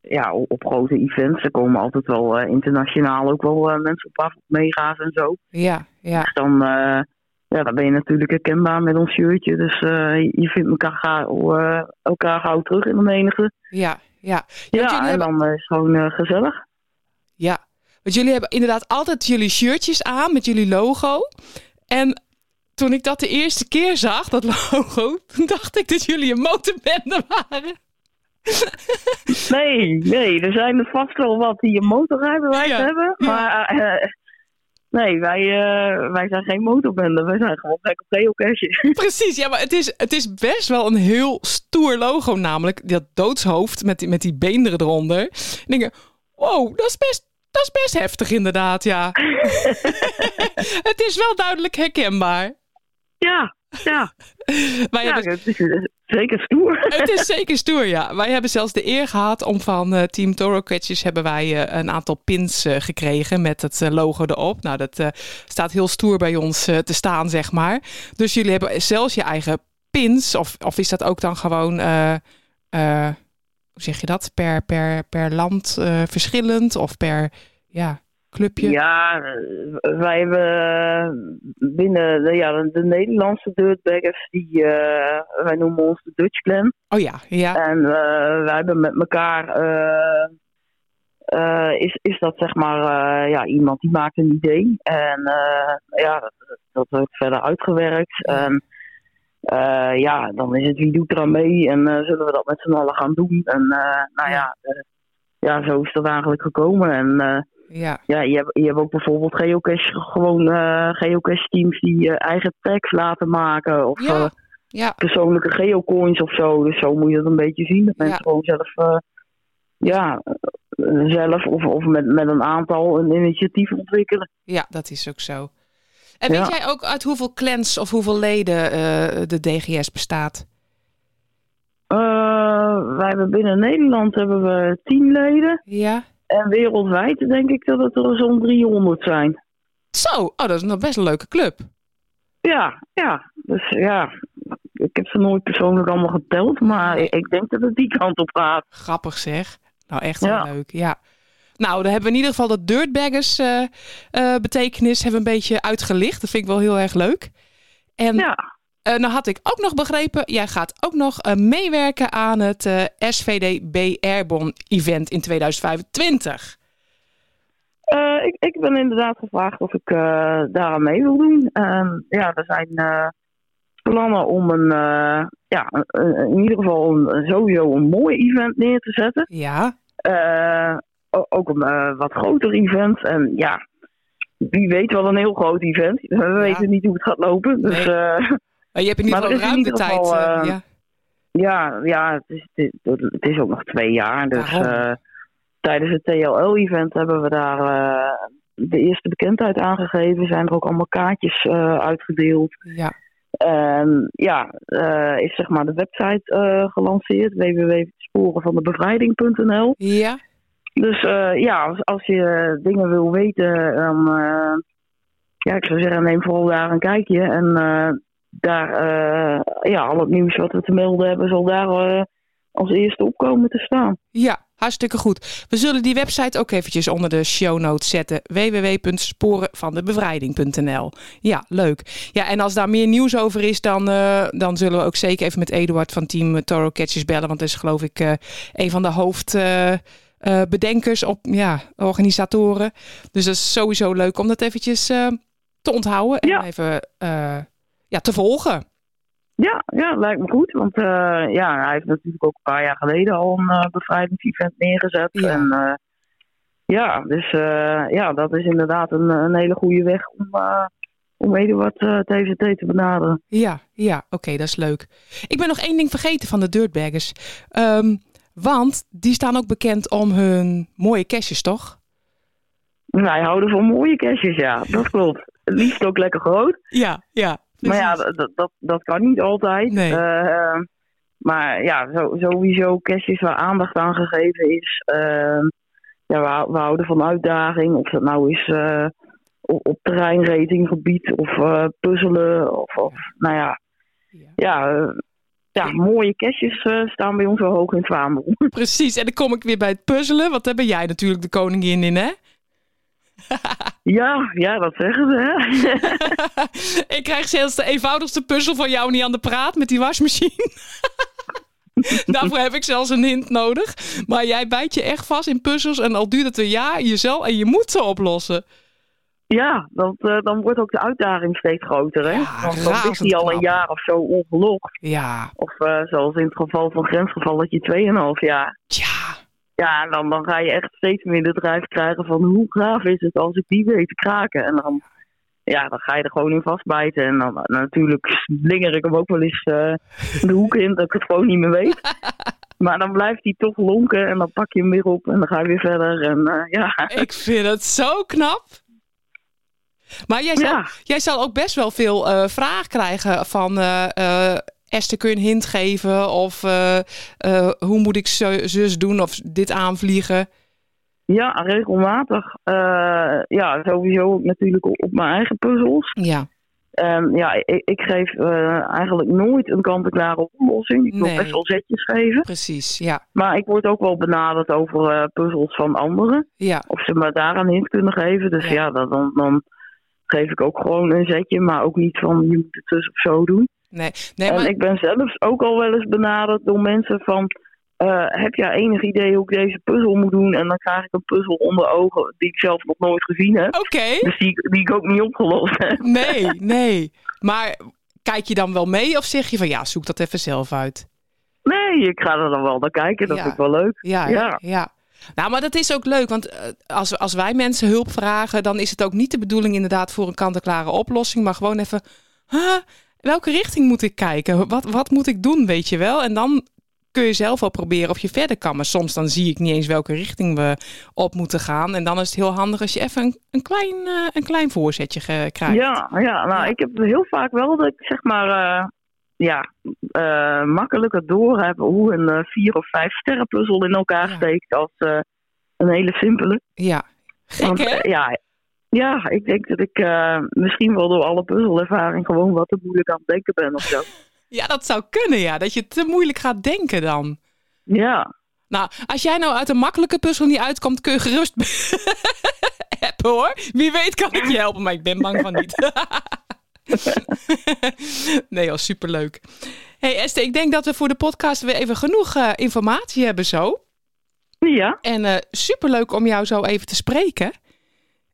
[SPEAKER 15] ja, op, op grote events. Er komen altijd wel eh, internationaal ook wel eh, mensen op af, op mega's en zo.
[SPEAKER 3] Ja, ja.
[SPEAKER 15] Dus dan, eh, ja, dan ben je natuurlijk herkenbaar met ons shirtje. Dus eh, je vindt elkaar gauw, eh, elkaar gauw terug in de menigte.
[SPEAKER 3] Ja, ja.
[SPEAKER 15] Ja, en dan eh, is het gewoon eh, gezellig.
[SPEAKER 3] Ja, want jullie hebben inderdaad altijd jullie shirtjes aan met jullie logo. En toen ik dat de eerste keer zag, dat [laughs] logo, toen dacht ik dat jullie een motorbende waren.
[SPEAKER 15] Nee, nee, er zijn er vast wel wat die een motorrijbewijs
[SPEAKER 3] Ja,
[SPEAKER 15] hebben.
[SPEAKER 3] ja.
[SPEAKER 15] Maar eh, nee, wij, eh, wij zijn geen motorbende. Wij zijn gewoon lekker geocaching. [laughs]
[SPEAKER 3] Precies, ja, maar het is, het is best wel een heel stoer logo, namelijk dat doodshoofd met die, met die beenderen eronder. En denk ik, wow, dat is best, dat is best heftig inderdaad, ja. [laughs] het is wel duidelijk herkenbaar. dus
[SPEAKER 15] Ja, ja.
[SPEAKER 3] Wij
[SPEAKER 15] ja,
[SPEAKER 3] hebben-
[SPEAKER 15] het is eh, zeker stoer.
[SPEAKER 3] Het is zeker stoer, ja. Wij hebben zelfs de eer gehad om van eh, Team Toro Catchers hebben wij eh, een aantal pins eh, gekregen met het eh, logo erop. Nou, dat eh, staat heel stoer bij ons eh, te staan, zeg maar. Dus jullie hebben zelfs je eigen pins, of, of is dat ook dan gewoon, eh, eh, hoe zeg je dat, per, per, per land eh, verschillend of per, ja, clubje?
[SPEAKER 15] Ja, eh, wij hebben eh, binnen de, ja, de Nederlandse dirtbaggers, die, eh, wij noemen ons de Dutch Clan.
[SPEAKER 3] Oh ja, ja.
[SPEAKER 15] En eh, wij hebben met elkaar, eh, eh, is, is dat zeg maar, eh, ja, iemand die maakt een idee. En eh, ja, dat, dat wordt verder uitgewerkt. En eh, ja, dan is het wie doet er aan mee en eh, zullen we dat met z'n allen gaan doen. En eh, nou ja, eh, ja, zo is dat eigenlijk gekomen. En eh,
[SPEAKER 3] Ja,
[SPEAKER 15] ja, je hebt, je hebt ook bijvoorbeeld geocache, gewoon eh, geocache teams die eh, eigen tags laten maken. Of
[SPEAKER 3] Ja,
[SPEAKER 15] eh,
[SPEAKER 3] ja.
[SPEAKER 15] persoonlijke geocoins of zo. Dus zo moet je dat een beetje zien. Dat mensen gewoon zelf, eh, ja, eh, zelf of, of met, met een aantal een initiatief ontwikkelen.
[SPEAKER 3] Ja, dat is ook zo. En
[SPEAKER 15] Ja.
[SPEAKER 3] weet jij ook uit hoeveel clans of hoeveel leden eh, de DGS bestaat?
[SPEAKER 15] Eh, wij hebben binnen Nederland hebben we tien leden.
[SPEAKER 3] Ja.
[SPEAKER 15] En wereldwijd denk ik dat het er zo'n 300 zijn.
[SPEAKER 3] Zo, oh, dat is nog best een leuke club.
[SPEAKER 15] Ja, ja. Dus ja, ik heb ze nooit persoonlijk allemaal geteld, maar ik, ik denk dat het die kant op gaat.
[SPEAKER 3] Grappig zeg. Nou, echt heel leuk. Ja. Nou, dan hebben we in ieder geval dat dirtbaggers eh, eh, betekenis hebben we een beetje uitgelicht. Dat vind ik wel heel erg leuk. En eh, nou had ik ook nog begrepen, jij gaat ook nog eh, meewerken aan het eh, SVD B Airborne event in 2025.
[SPEAKER 15] Eh, ik, ik ben inderdaad gevraagd of ik eh daaraan mee wil doen. En ja, er zijn eh, plannen om een, eh, ja, een- een- in ieder geval een, sowieso een mooi event neer te zetten.
[SPEAKER 3] Ja.
[SPEAKER 15] ook een eh, wat groter event. En ja, wie weet wel een heel groot event. We weten niet hoe het gaat lopen. Dus,
[SPEAKER 3] Nee.
[SPEAKER 15] eh,
[SPEAKER 3] Maar je hebt in ieder
[SPEAKER 15] maar er
[SPEAKER 3] geval
[SPEAKER 15] is in
[SPEAKER 3] ruim de
[SPEAKER 15] ieder
[SPEAKER 3] tijd.
[SPEAKER 15] geval,
[SPEAKER 3] eh,
[SPEAKER 15] eh,
[SPEAKER 3] ja.
[SPEAKER 15] ja, ja het, is, het is- het is ook nog twee jaar. Dus
[SPEAKER 3] Daarom.
[SPEAKER 15] eh, tijdens het TLL-event hebben we daar eh, de eerste bekendheid aangegeven. Zijn er ook allemaal kaartjes eh, uitgedeeld.
[SPEAKER 3] Ja.
[SPEAKER 15] En ja, eh, is zeg maar de website eh, gelanceerd: www.sporenvandebevrijding.nl.
[SPEAKER 3] Ja.
[SPEAKER 15] Dus eh, ja, als, als je eh, dingen wil weten, dan. eh, ja, ik zou zeggen, neem vooral daar een kijkje. En eh, daar, eh, ja, al het nieuws wat we te melden hebben, zal daar eh, als eerste op komen te staan.
[SPEAKER 3] Ja, hartstikke goed. We zullen die website ook eventjes onder de show notes zetten. www.sporenvandebevrijding.nl Ja, leuk. Ja, en als daar meer nieuws over is, dan, eh, dan zullen we ook zeker even met Eduard van team eh, Toro Catchers bellen. Want dat is geloof ik eh, een van de hoofdbedenkers op ja, organisatoren. Dus dat is sowieso leuk om dat eventjes eh, te onthouden en even eh, ja, te volgen.
[SPEAKER 15] Ja, ja, lijkt me goed. Want eh, ja, hij heeft natuurlijk ook een paar jaar geleden al een eh bevrijdingsevent neergezet. En eh, ja, dus eh, ja, dat is inderdaad een, een hele goede weg om, eh om Eduard eh, TVT te benaderen.
[SPEAKER 3] Ja, ja, oké, dat is leuk. Ik ben nog één ding vergeten van de dirtbaggers. Ehm, want die staan ook bekend om hun mooie caches, toch?
[SPEAKER 15] Wij houden van mooie kerstjes, ja, dat klopt. Het liefst ook lekker groot.
[SPEAKER 3] Ja, ja.
[SPEAKER 15] Maar ja, dat, dat, dat kan niet altijd. Eh, maar ja, zo, sowieso kerstjes waar aandacht aan gegeven is. Eh, ja, we, hou- we houden van uitdaging. Of dat nou is eh, op, op terreinratinggebied of eh, puzzelen. Of, of nou ja, ja. eh, ja, mooie kerstjes eh, staan bij ons wel hoog in het vaandel. [laughs]
[SPEAKER 3] Precies, en dan kom ik weer bij het puzzelen. Want daar ben jij natuurlijk de koningin in, [laughs] hè?
[SPEAKER 15] Ja, ja, dat zeggen ze, hè?
[SPEAKER 3] ik krijg zelfs de eenvoudigste puzzel van jou niet aan de praat met die wasmachine. [laughs] Daarvoor heb ik zelfs een hint nodig. Maar jij bijt je echt vast in puzzels en al duurt het een jaar, je zal en je moet ze oplossen.
[SPEAKER 15] Ja, want eh, dan wordt ook de uitdaging steeds groter, hè? want dan ligt
[SPEAKER 3] razend
[SPEAKER 15] die al een
[SPEAKER 3] knap.
[SPEAKER 15] jaar of zo ongelokt.
[SPEAKER 3] Ja.
[SPEAKER 15] Of eh, zoals in het geval van grensgevalletje, 2,5 jaar.
[SPEAKER 3] Ja.
[SPEAKER 15] Ja, en dan, dan ga je echt steeds meer de drijf krijgen van hoe gaaf is het als ik die weet te kraken. En dan, ja, dan ga je er gewoon in vastbijten. En dan eh, natuurlijk slinger ik hem ook wel eens eh, de hoek in dat ik het gewoon niet meer
[SPEAKER 3] [laughs]
[SPEAKER 15] weet. Maar dan blijft hij toch lonken en dan pak je hem weer op en dan ga je weer verder. En eh, ja.
[SPEAKER 3] Ik vind het zo knap. Maar jij zal, jij zal ook best wel veel eh vraag krijgen van... eh, eh, Esther, kun je een hint geven? Of eh, eh, hoe moet ik zo- zus doen? Of dit aanvliegen?
[SPEAKER 15] Ja, regelmatig. Eh, ja, sowieso natuurlijk op op mijn eigen puzzels. Ehm,
[SPEAKER 3] Ja.
[SPEAKER 15] ja, ik, ik geef eh, eigenlijk nooit een kant-en-klare oplossing. Ik
[SPEAKER 3] Nee.
[SPEAKER 15] wil best wel zetjes geven.
[SPEAKER 3] Precies, ja.
[SPEAKER 15] Maar ik word ook wel benaderd over eh, puzzels van anderen.
[SPEAKER 3] Ja.
[SPEAKER 15] Of ze me daar een hint kunnen geven. Dus ja, dat, dan, dan geef ik ook gewoon een zetje. Maar ook niet van je moet het dus of zo doen.
[SPEAKER 3] Nee, nee
[SPEAKER 15] en
[SPEAKER 3] maar...
[SPEAKER 15] ik ben zelfs ook al wel eens benaderd door mensen van... eh, heb jij enig idee hoe ik deze puzzel moet doen? En dan krijg ik een puzzel onder ogen die ik zelf nog nooit gezien heb.
[SPEAKER 3] Oké.
[SPEAKER 15] Dus die, die ik ook niet opgelost heb. [laughs]
[SPEAKER 3] Nee, nee. Maar kijk je dan wel mee of zeg je van ja, zoek dat even zelf uit?
[SPEAKER 15] Nee, ik ga er dan wel naar kijken. Dat
[SPEAKER 3] Ja.
[SPEAKER 15] vind ik wel leuk.
[SPEAKER 3] Ja, hè? ja. Nou, maar dat is ook leuk, want eh, als, als wij mensen hulp vragen, dan is het ook niet de bedoeling inderdaad voor een kant-en-klare oplossing, maar gewoon even, huh, welke richting moet ik kijken? Wat, wat moet ik doen, weet je wel? En dan kun je zelf wel proberen of je verder kan, maar soms dan zie ik niet eens welke richting we op moeten gaan. En dan is het heel handig als je even een, een, klein, eh, een klein voorzetje ge- krijgt.
[SPEAKER 15] Ja, ja, nou, ik heb heel vaak wel dat ik zeg maar eh, ja, eh, makkelijker door heb hoe een eh, vier of vijf sterrenpuzzel in elkaar steekt als eh, een hele simpele.
[SPEAKER 3] Ja, gek
[SPEAKER 15] Want,
[SPEAKER 3] hè?
[SPEAKER 15] eh, ja, ja, ik denk dat ik eh, misschien wel door alle puzzelervaring gewoon wat te moeilijk aan het denken ben of zo. [laughs]
[SPEAKER 3] Ja, dat zou kunnen, ja. Dat je te moeilijk gaat denken dan.
[SPEAKER 15] Ja.
[SPEAKER 3] Nou, als jij nou uit een makkelijke puzzel niet uitkomt, kun je gerust [laughs] appen hoor. Wie weet kan ik je helpen, maar ik ben bang van niet. [laughs] nee, al superleuk. hey Esther, ik denk dat we voor de podcast weer even genoeg eh, informatie hebben zo.
[SPEAKER 15] Ja.
[SPEAKER 3] En eh, superleuk om jou zo even te spreken.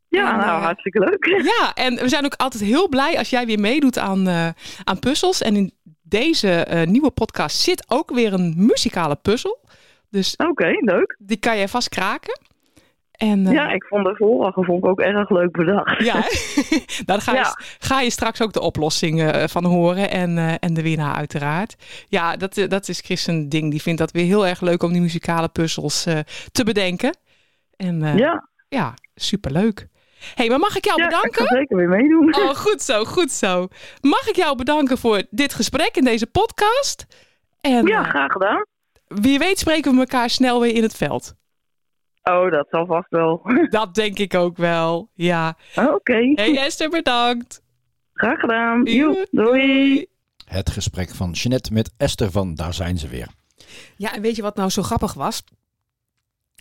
[SPEAKER 15] Ja, nou, hartstikke leuk. [laughs]
[SPEAKER 3] Ja, en we zijn ook altijd heel blij als jij weer meedoet aan, eh, aan puzzels. En in deze eh, nieuwe podcast zit ook weer een muzikale puzzel. Dus
[SPEAKER 15] Oké, leuk.
[SPEAKER 3] Die kan jij vast kraken. En, eh,
[SPEAKER 15] Ja, ik vond de vorige vond ik ook erg leuk bedacht.
[SPEAKER 3] Ja, hè? daar ga,
[SPEAKER 15] Ja.
[SPEAKER 3] je, ga je straks ook de oplossing eh, van horen en, eh, en de winnaar uiteraard. Ja, dat, eh, dat is Chris een ding. Die vindt dat weer heel erg leuk om die muzikale puzzels eh, te bedenken. En, eh,
[SPEAKER 15] [laughs] Ja.
[SPEAKER 3] ja, superleuk. hey, maar mag ik jou
[SPEAKER 15] Ja, ik
[SPEAKER 3] bedanken?
[SPEAKER 15] ga zeker weer meedoen.
[SPEAKER 3] Oh, goed zo, goed zo. Mag ik jou bedanken voor dit gesprek en deze podcast? En,
[SPEAKER 15] Ja,
[SPEAKER 3] eh,
[SPEAKER 15] graag gedaan.
[SPEAKER 3] Wie weet spreken we elkaar snel weer in het
[SPEAKER 15] [laughs]
[SPEAKER 3] veld.
[SPEAKER 15] Oh, dat zal vast wel. [laughs]
[SPEAKER 3] Dat denk ik ook wel, ja.
[SPEAKER 15] Oké.
[SPEAKER 3] Hey Esther, bedankt.
[SPEAKER 15] Graag gedaan. Joep, doei.
[SPEAKER 2] Het gesprek van Jeanette met Esther van Daar zijn ze weer.
[SPEAKER 3] Ja, en weet je wat nou zo grappig was?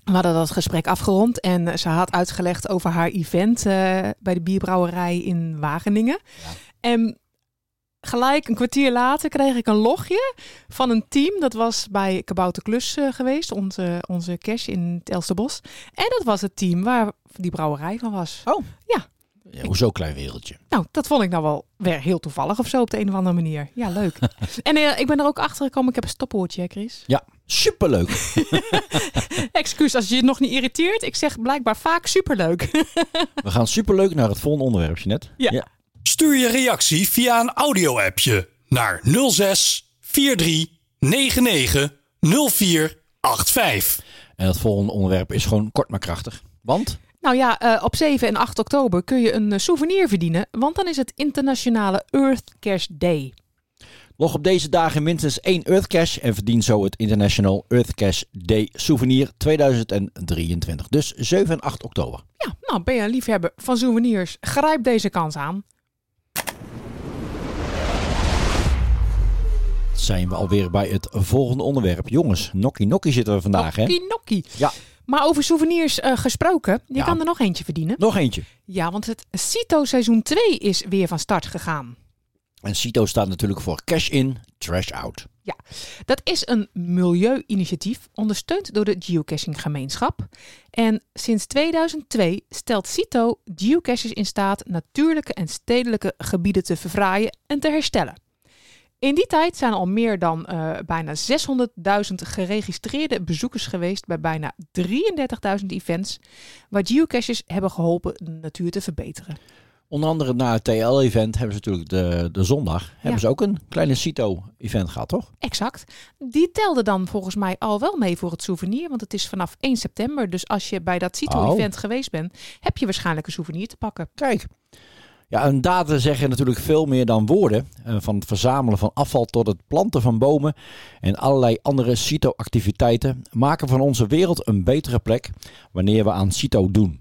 [SPEAKER 3] We hadden dat gesprek afgerond en eh, ze had uitgelegd over haar event eh, bij de bierbrouwerij in Wageningen. En gelijk een kwartier later kreeg ik een logje van een team. Dat was bij Kabouter Klus eh, geweest, onze, onze cash in het Elsterbos. En dat was het team waar die brouwerij van was.
[SPEAKER 2] Oh.
[SPEAKER 3] Ja,
[SPEAKER 2] Ja, hoezo klein wereldje?
[SPEAKER 3] nou, dat vond ik nou wel weer heel toevallig of zo op de een of andere manier. Ja, leuk. en eh, ik ben er ook achter gekomen, ik heb een stopwoordje, hè, Chris.
[SPEAKER 2] Ja, superleuk.
[SPEAKER 3] Excuus als je het nog niet irriteert. Ik zeg blijkbaar vaak superleuk. [laughs]
[SPEAKER 2] We gaan superleuk naar het volgende onderwerp, Jeanette.
[SPEAKER 3] Ja.
[SPEAKER 1] Stuur je reactie via een audio-appje naar 06 43 99 04 85.
[SPEAKER 2] En het volgende onderwerp is gewoon kort maar krachtig. Want?
[SPEAKER 3] nou ja, eh, op 7 en 8 oktober kun je een eh, souvenir verdienen. Want dan is het internationale Earth Cash Day.
[SPEAKER 2] Log op deze dagen minstens één Earthcash en verdien zo het International Earthcash Day Souvenir 2023. Dus 7 en 8 oktober.
[SPEAKER 3] Ja, nou ben je een liefhebber van souvenirs. Grijp deze kans aan.
[SPEAKER 2] zijn we alweer bij het volgende onderwerp. Jongens, nokkie nokkie zitten we vandaag, hè?
[SPEAKER 3] Kinokkie.
[SPEAKER 2] Ja.
[SPEAKER 3] Maar over souvenirs eh, gesproken, je
[SPEAKER 2] Ja.
[SPEAKER 3] kan er nog eentje verdienen.
[SPEAKER 2] Nog eentje.
[SPEAKER 3] Ja, want het CITO seizoen 2 is weer van start gegaan.
[SPEAKER 2] En CITO staat natuurlijk voor cash in, trash out.
[SPEAKER 3] Ja, dat is een milieu-initiatief ondersteund door de geocaching-gemeenschap. En sinds 2002 stelt CITO geocaches in staat natuurlijke en stedelijke gebieden te verfraaien en te herstellen. In die tijd zijn al meer dan eh, bijna 600.000 geregistreerde bezoekers geweest bij bijna 33.000 events, waar geocaches hebben geholpen de natuur te verbeteren.
[SPEAKER 2] Onder andere na het TL-event hebben ze natuurlijk de, de zondag hebben ze ook een kleine CITO-event gehad, toch?
[SPEAKER 3] Exact. Die telde dan volgens mij al wel mee voor het souvenir, want het is vanaf 1 september. Dus als je bij dat
[SPEAKER 2] Oh.
[SPEAKER 3] CITO-event geweest bent, heb je waarschijnlijk een souvenir te pakken.
[SPEAKER 2] Kijk. Ja, en data zeggen natuurlijk veel meer dan woorden. Eh, Van het verzamelen van afval tot het planten van bomen en allerlei andere CITO-activiteiten maken van onze wereld een betere plek wanneer we aan CITO doen.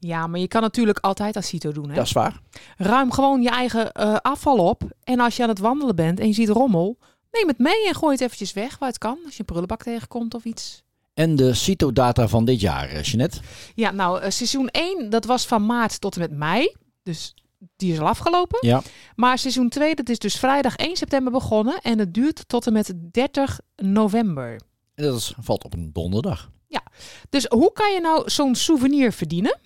[SPEAKER 3] Ja, maar je kan natuurlijk altijd als CITO doen. Hè?
[SPEAKER 2] Dat is waar.
[SPEAKER 3] Ruim gewoon je eigen eh, afval op. En als je aan het wandelen bent en je ziet rommel, neem het mee en gooi het eventjes weg waar het kan. Als je een prullenbak tegenkomt of iets.
[SPEAKER 2] En de CITO-data van dit jaar, eh, Jeanette.
[SPEAKER 3] Ja, nou, eh, seizoen 1, dat was van maart tot en met mei. Dus die is al afgelopen.
[SPEAKER 2] Ja.
[SPEAKER 3] Maar seizoen 2, dat is dus vrijdag 1 september begonnen. En het duurt tot en met 30 november.
[SPEAKER 2] En Dat is, valt op een donderdag.
[SPEAKER 3] Ja, dus hoe kan je nou zo'n souvenir verdienen?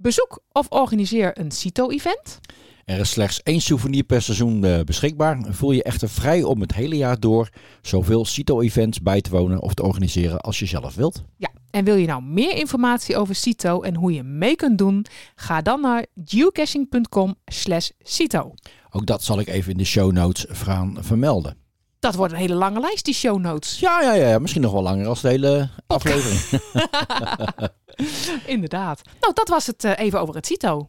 [SPEAKER 3] Bezoek of organiseer een CITO-event.
[SPEAKER 2] Er is slechts één souvenir per seizoen eh, beschikbaar. Voel je echter vrij om het hele jaar door zoveel CITO-events bij te wonen of te organiseren als je zelf wilt.
[SPEAKER 3] Ja, en wil je nou meer informatie over CITO en hoe je mee kunt doen? Ga dan naar geocaching.com slash CITO.
[SPEAKER 2] Ook dat zal ik even in de show notes gaan vermelden.
[SPEAKER 3] Dat wordt een hele lange lijst, die show notes.
[SPEAKER 2] Ja, ja, ja, ja, misschien nog wel langer als de hele aflevering.
[SPEAKER 3] Inderdaad. Nou, dat was het eh, even over het CITO.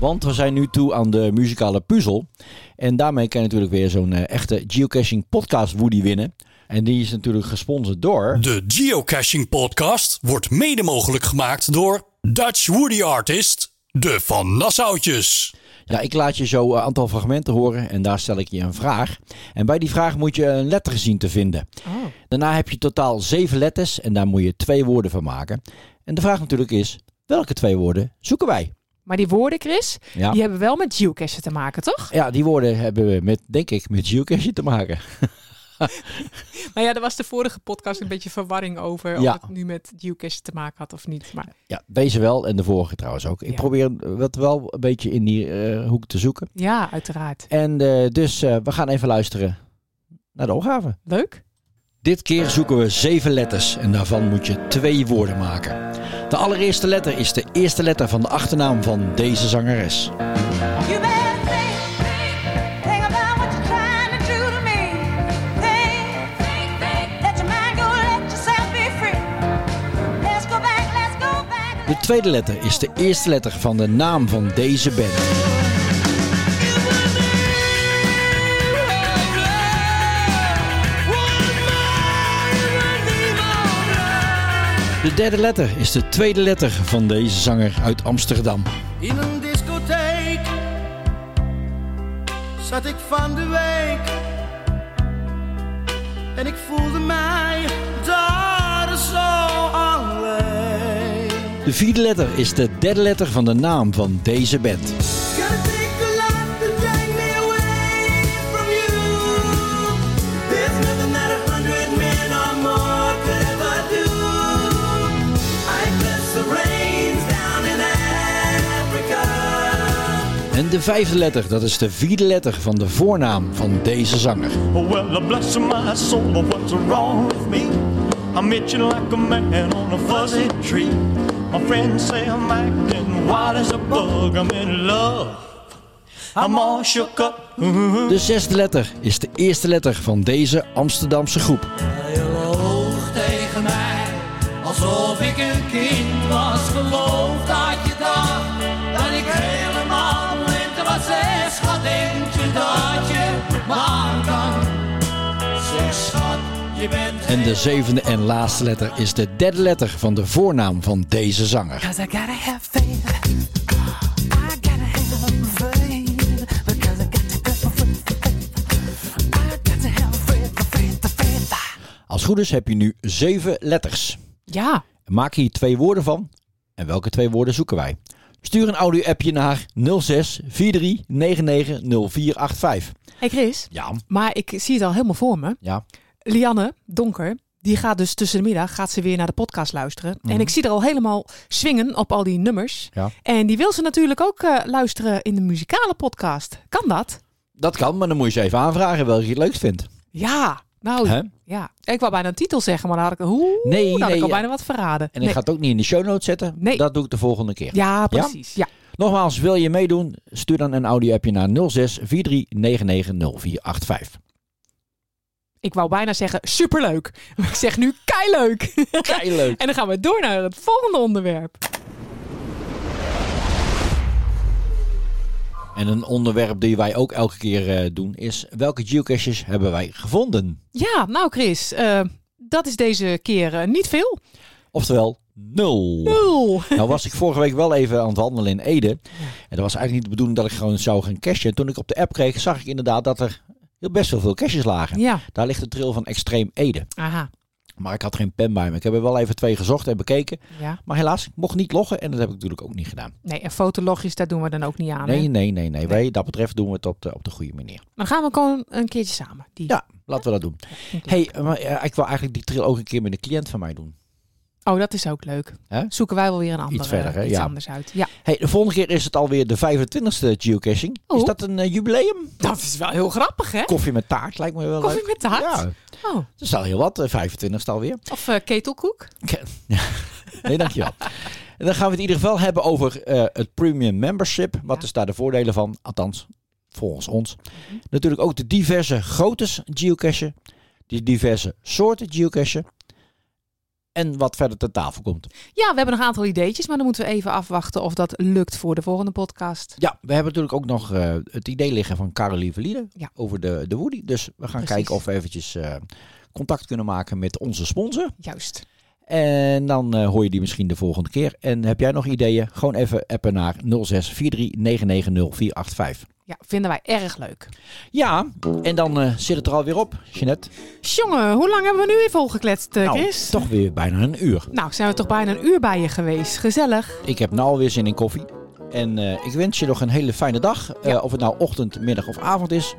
[SPEAKER 2] Want we zijn nu toe aan de muzikale puzzel. En daarmee kan je natuurlijk weer zo'n eh, echte geocaching podcast Woody winnen. En die is natuurlijk gesponsord door...
[SPEAKER 1] De Geocaching Podcast wordt mede mogelijk gemaakt door Dutch Woody Artist, de Van Nassautjes.
[SPEAKER 2] Ja, ik laat je zo een aantal fragmenten horen en daar stel ik je een vraag. En bij die vraag moet je een letter zien te vinden. Daarna heb je totaal zeven letters en daar moet je twee woorden van maken. En de vraag natuurlijk is, welke twee woorden zoeken wij?
[SPEAKER 3] Maar die woorden, Chris,
[SPEAKER 2] Ja.
[SPEAKER 3] die hebben wel met geocachen te maken, toch?
[SPEAKER 2] Ja, die woorden hebben we met, denk ik, met geocaching te maken.
[SPEAKER 3] Nou ja, er was de vorige podcast een beetje verwarring over
[SPEAKER 2] Ja.
[SPEAKER 3] of het nu met geocachen te maken had of niet. Maar
[SPEAKER 2] Ja, deze wel en de vorige trouwens ook. Ik probeer dat wel een beetje in die eh, hoek te zoeken.
[SPEAKER 3] ja, uiteraard.
[SPEAKER 2] En eh, dus eh, we gaan even luisteren naar de opgave.
[SPEAKER 3] Leuk.
[SPEAKER 2] Dit keer zoeken we zeven letters en daarvan moet je twee woorden maken. De allereerste letter is de eerste letter van de achternaam van deze zangeres.
[SPEAKER 4] You better think, think, think about what you're trying to do to me. Think, think, think. Let your mind go, let yourself be free. Let's go back, let's go back.
[SPEAKER 2] De tweede letter is de eerste letter van de naam van deze band. De derde letter is de tweede letter van deze zanger uit Amsterdam.
[SPEAKER 16] In een discotheek zat ik van de week en ik voelde mij daar zo alleen.
[SPEAKER 2] De vierde letter is de derde letter van de naam van deze band.
[SPEAKER 4] Gotta take the life to drag me away from you. There's nothing that a hundred men or more could ever do. I press the rains down in Africa.
[SPEAKER 2] En de vijfde letter, dat is de vierde letter van de voornaam van deze zanger.
[SPEAKER 16] Oh, Well, bless my soul, but what's wrong with me? I'm itching like a man on a fuzzy tree. My friends say I'm acting wild as a bug. I'm in love. I'm all shook up.
[SPEAKER 2] De zesde letter is de eerste letter van deze Amsterdamse groep.
[SPEAKER 4] Hoog tegen mij, alsof ik een kind was. Geloof dat je dacht dat ik helemaal blind was. Zeg, schat, denk je dat je maar kan? Zeg, schat, je bent
[SPEAKER 2] En de zevende en laatste letter is de derde letter van de voornaam van deze zanger.
[SPEAKER 4] Cause I gotta have faith. I gotta have faith. Because I
[SPEAKER 2] Als het goed is heb je nu zeven letters.
[SPEAKER 3] Ja.
[SPEAKER 2] Maak hier twee woorden van. En welke twee woorden zoeken wij? Stuur een audio-appje naar 06 43 99 0485.
[SPEAKER 3] Hey Chris.
[SPEAKER 2] Ja.
[SPEAKER 3] Maar ik zie het al helemaal voor me.
[SPEAKER 2] Ja.
[SPEAKER 3] Lianne, donker, die gaat dus tussen de middag gaat ze weer naar de podcast luisteren. En
[SPEAKER 2] Mhm.
[SPEAKER 3] ik zie er al helemaal swingen op al die nummers.
[SPEAKER 2] Ja.
[SPEAKER 3] En die wil ze natuurlijk ook eh, luisteren in de muzikale podcast. Kan dat?
[SPEAKER 2] Dat kan, maar dan moet je ze even aanvragen welke je het leukst vindt.
[SPEAKER 3] Ja. Nou,
[SPEAKER 2] Hè?
[SPEAKER 3] ja. Ik wou bijna een titel zeggen, maar dan had ik, hoe,
[SPEAKER 2] Nee,
[SPEAKER 3] dan had
[SPEAKER 2] nee,
[SPEAKER 3] ik al
[SPEAKER 2] ja.
[SPEAKER 3] bijna wat verraden.
[SPEAKER 2] En
[SPEAKER 3] Nee.
[SPEAKER 2] ik ga het ook niet in de show notes zetten. Dat doe ik de volgende keer.
[SPEAKER 3] Ja, precies. Ja.
[SPEAKER 2] Nogmaals, wil je meedoen? Stuur dan een audio-appje naar 06 43 99 0485.
[SPEAKER 3] Ik wou bijna zeggen superleuk. [laughs] Maar ik zeg nu keileuk. [laughs]
[SPEAKER 2] Keileuk.
[SPEAKER 3] en dan gaan we door naar het volgende onderwerp.
[SPEAKER 2] En een onderwerp die wij ook elke keer eh, doen is welke geocaches hebben wij gevonden?
[SPEAKER 3] Ja, nou Chris, eh, dat is deze keer eh, niet veel.
[SPEAKER 2] Oftewel, nul.
[SPEAKER 3] Nul.
[SPEAKER 2] Nou was ik vorige week wel even aan het wandelen in Ede. En dat was eigenlijk niet de bedoeling dat ik gewoon zou gaan cashen. Toen ik op de app kreeg, zag ik inderdaad dat er heel best wel veel caches lagen.
[SPEAKER 3] Ja.
[SPEAKER 2] Daar ligt de trail van Extreem Ede.
[SPEAKER 3] Aha.
[SPEAKER 2] Maar ik had geen pen bij me. Ik heb er wel even twee gezocht en bekeken.
[SPEAKER 3] Ja.
[SPEAKER 2] Maar helaas, ik mocht niet loggen en dat heb ik natuurlijk ook niet gedaan.
[SPEAKER 3] Nee, en fotologjes, daar doen we dan ook niet aan. hè?
[SPEAKER 2] Nee, nee, nee, nee. Wij, dat betreft doen we het op de, op de goede manier.
[SPEAKER 3] Dan gaan we gewoon een keertje samen. Die... Ja.
[SPEAKER 2] Laten we dat doen. hey, maar, eh, ik wil eigenlijk die trail ook een keer met een cliënt van mij doen.
[SPEAKER 3] Oh, dat is ook leuk.
[SPEAKER 2] Hè?
[SPEAKER 3] Zoeken wij wel weer een andere,
[SPEAKER 2] Iets verder, hè?
[SPEAKER 3] iets
[SPEAKER 2] Ja.
[SPEAKER 3] anders uit. Ja.
[SPEAKER 2] hey, de volgende keer is het alweer de 25e geocaching.
[SPEAKER 3] Oh.
[SPEAKER 2] Is dat een eh, jubileum?
[SPEAKER 3] Dat is wel heel grappig, hè?
[SPEAKER 2] Koffie met taart lijkt me wel
[SPEAKER 3] Koffie
[SPEAKER 2] leuk.
[SPEAKER 3] met taart?
[SPEAKER 2] Ja,
[SPEAKER 3] Oh.
[SPEAKER 2] dat is al heel wat. eh, 25e alweer.
[SPEAKER 3] Of eh, ketelkoek.
[SPEAKER 2] Nee, dankjewel. En dan gaan we het in ieder geval hebben over eh, het premium membership. Wat is daar de voordelen van? Althans, volgens ons.
[SPEAKER 3] Mhm.
[SPEAKER 2] Natuurlijk ook de diverse groottes geocachen. De diverse soorten geocachen. En wat verder ter tafel komt.
[SPEAKER 3] Ja, we hebben nog een aantal ideetjes, maar dan moeten we even afwachten of dat lukt voor de volgende podcast.
[SPEAKER 2] Ja, we hebben natuurlijk ook nog eh, het idee liggen van Caroline Verlieden
[SPEAKER 3] Ja.
[SPEAKER 2] over de, de Woody. Dus we gaan
[SPEAKER 3] Precies.
[SPEAKER 2] kijken of we eventjes eh, contact kunnen maken met onze sponsor.
[SPEAKER 3] Juist.
[SPEAKER 2] En dan eh, hoor je die misschien de volgende keer. En heb jij nog ideeën? Gewoon even appen naar 0643990485.
[SPEAKER 3] Ja, vinden wij erg leuk.
[SPEAKER 2] Ja, en dan eh, zit het er alweer op, Jeanette.
[SPEAKER 3] Jongen, hoe lang hebben we nu weer volgekletst, eh,
[SPEAKER 2] Nou,
[SPEAKER 3] Chris?
[SPEAKER 2] toch weer bijna een uur.
[SPEAKER 3] Nou, zijn we toch bijna een uur bij je geweest. Gezellig.
[SPEAKER 2] Ik heb nu alweer zin in koffie. En eh, ik wens je nog een hele fijne dag. Eh, of het nou ochtend, middag of avond is.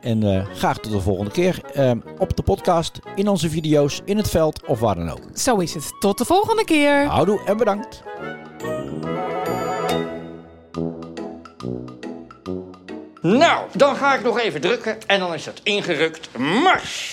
[SPEAKER 2] En eh, graag tot de volgende keer. eh, op de podcast, in onze video's, in het veld of waar dan ook.
[SPEAKER 3] Zo is het. Tot de volgende keer.
[SPEAKER 2] Houdoe en bedankt.
[SPEAKER 17] Nou, dan ga ik nog even drukken en dan is dat ingerukt. Mars!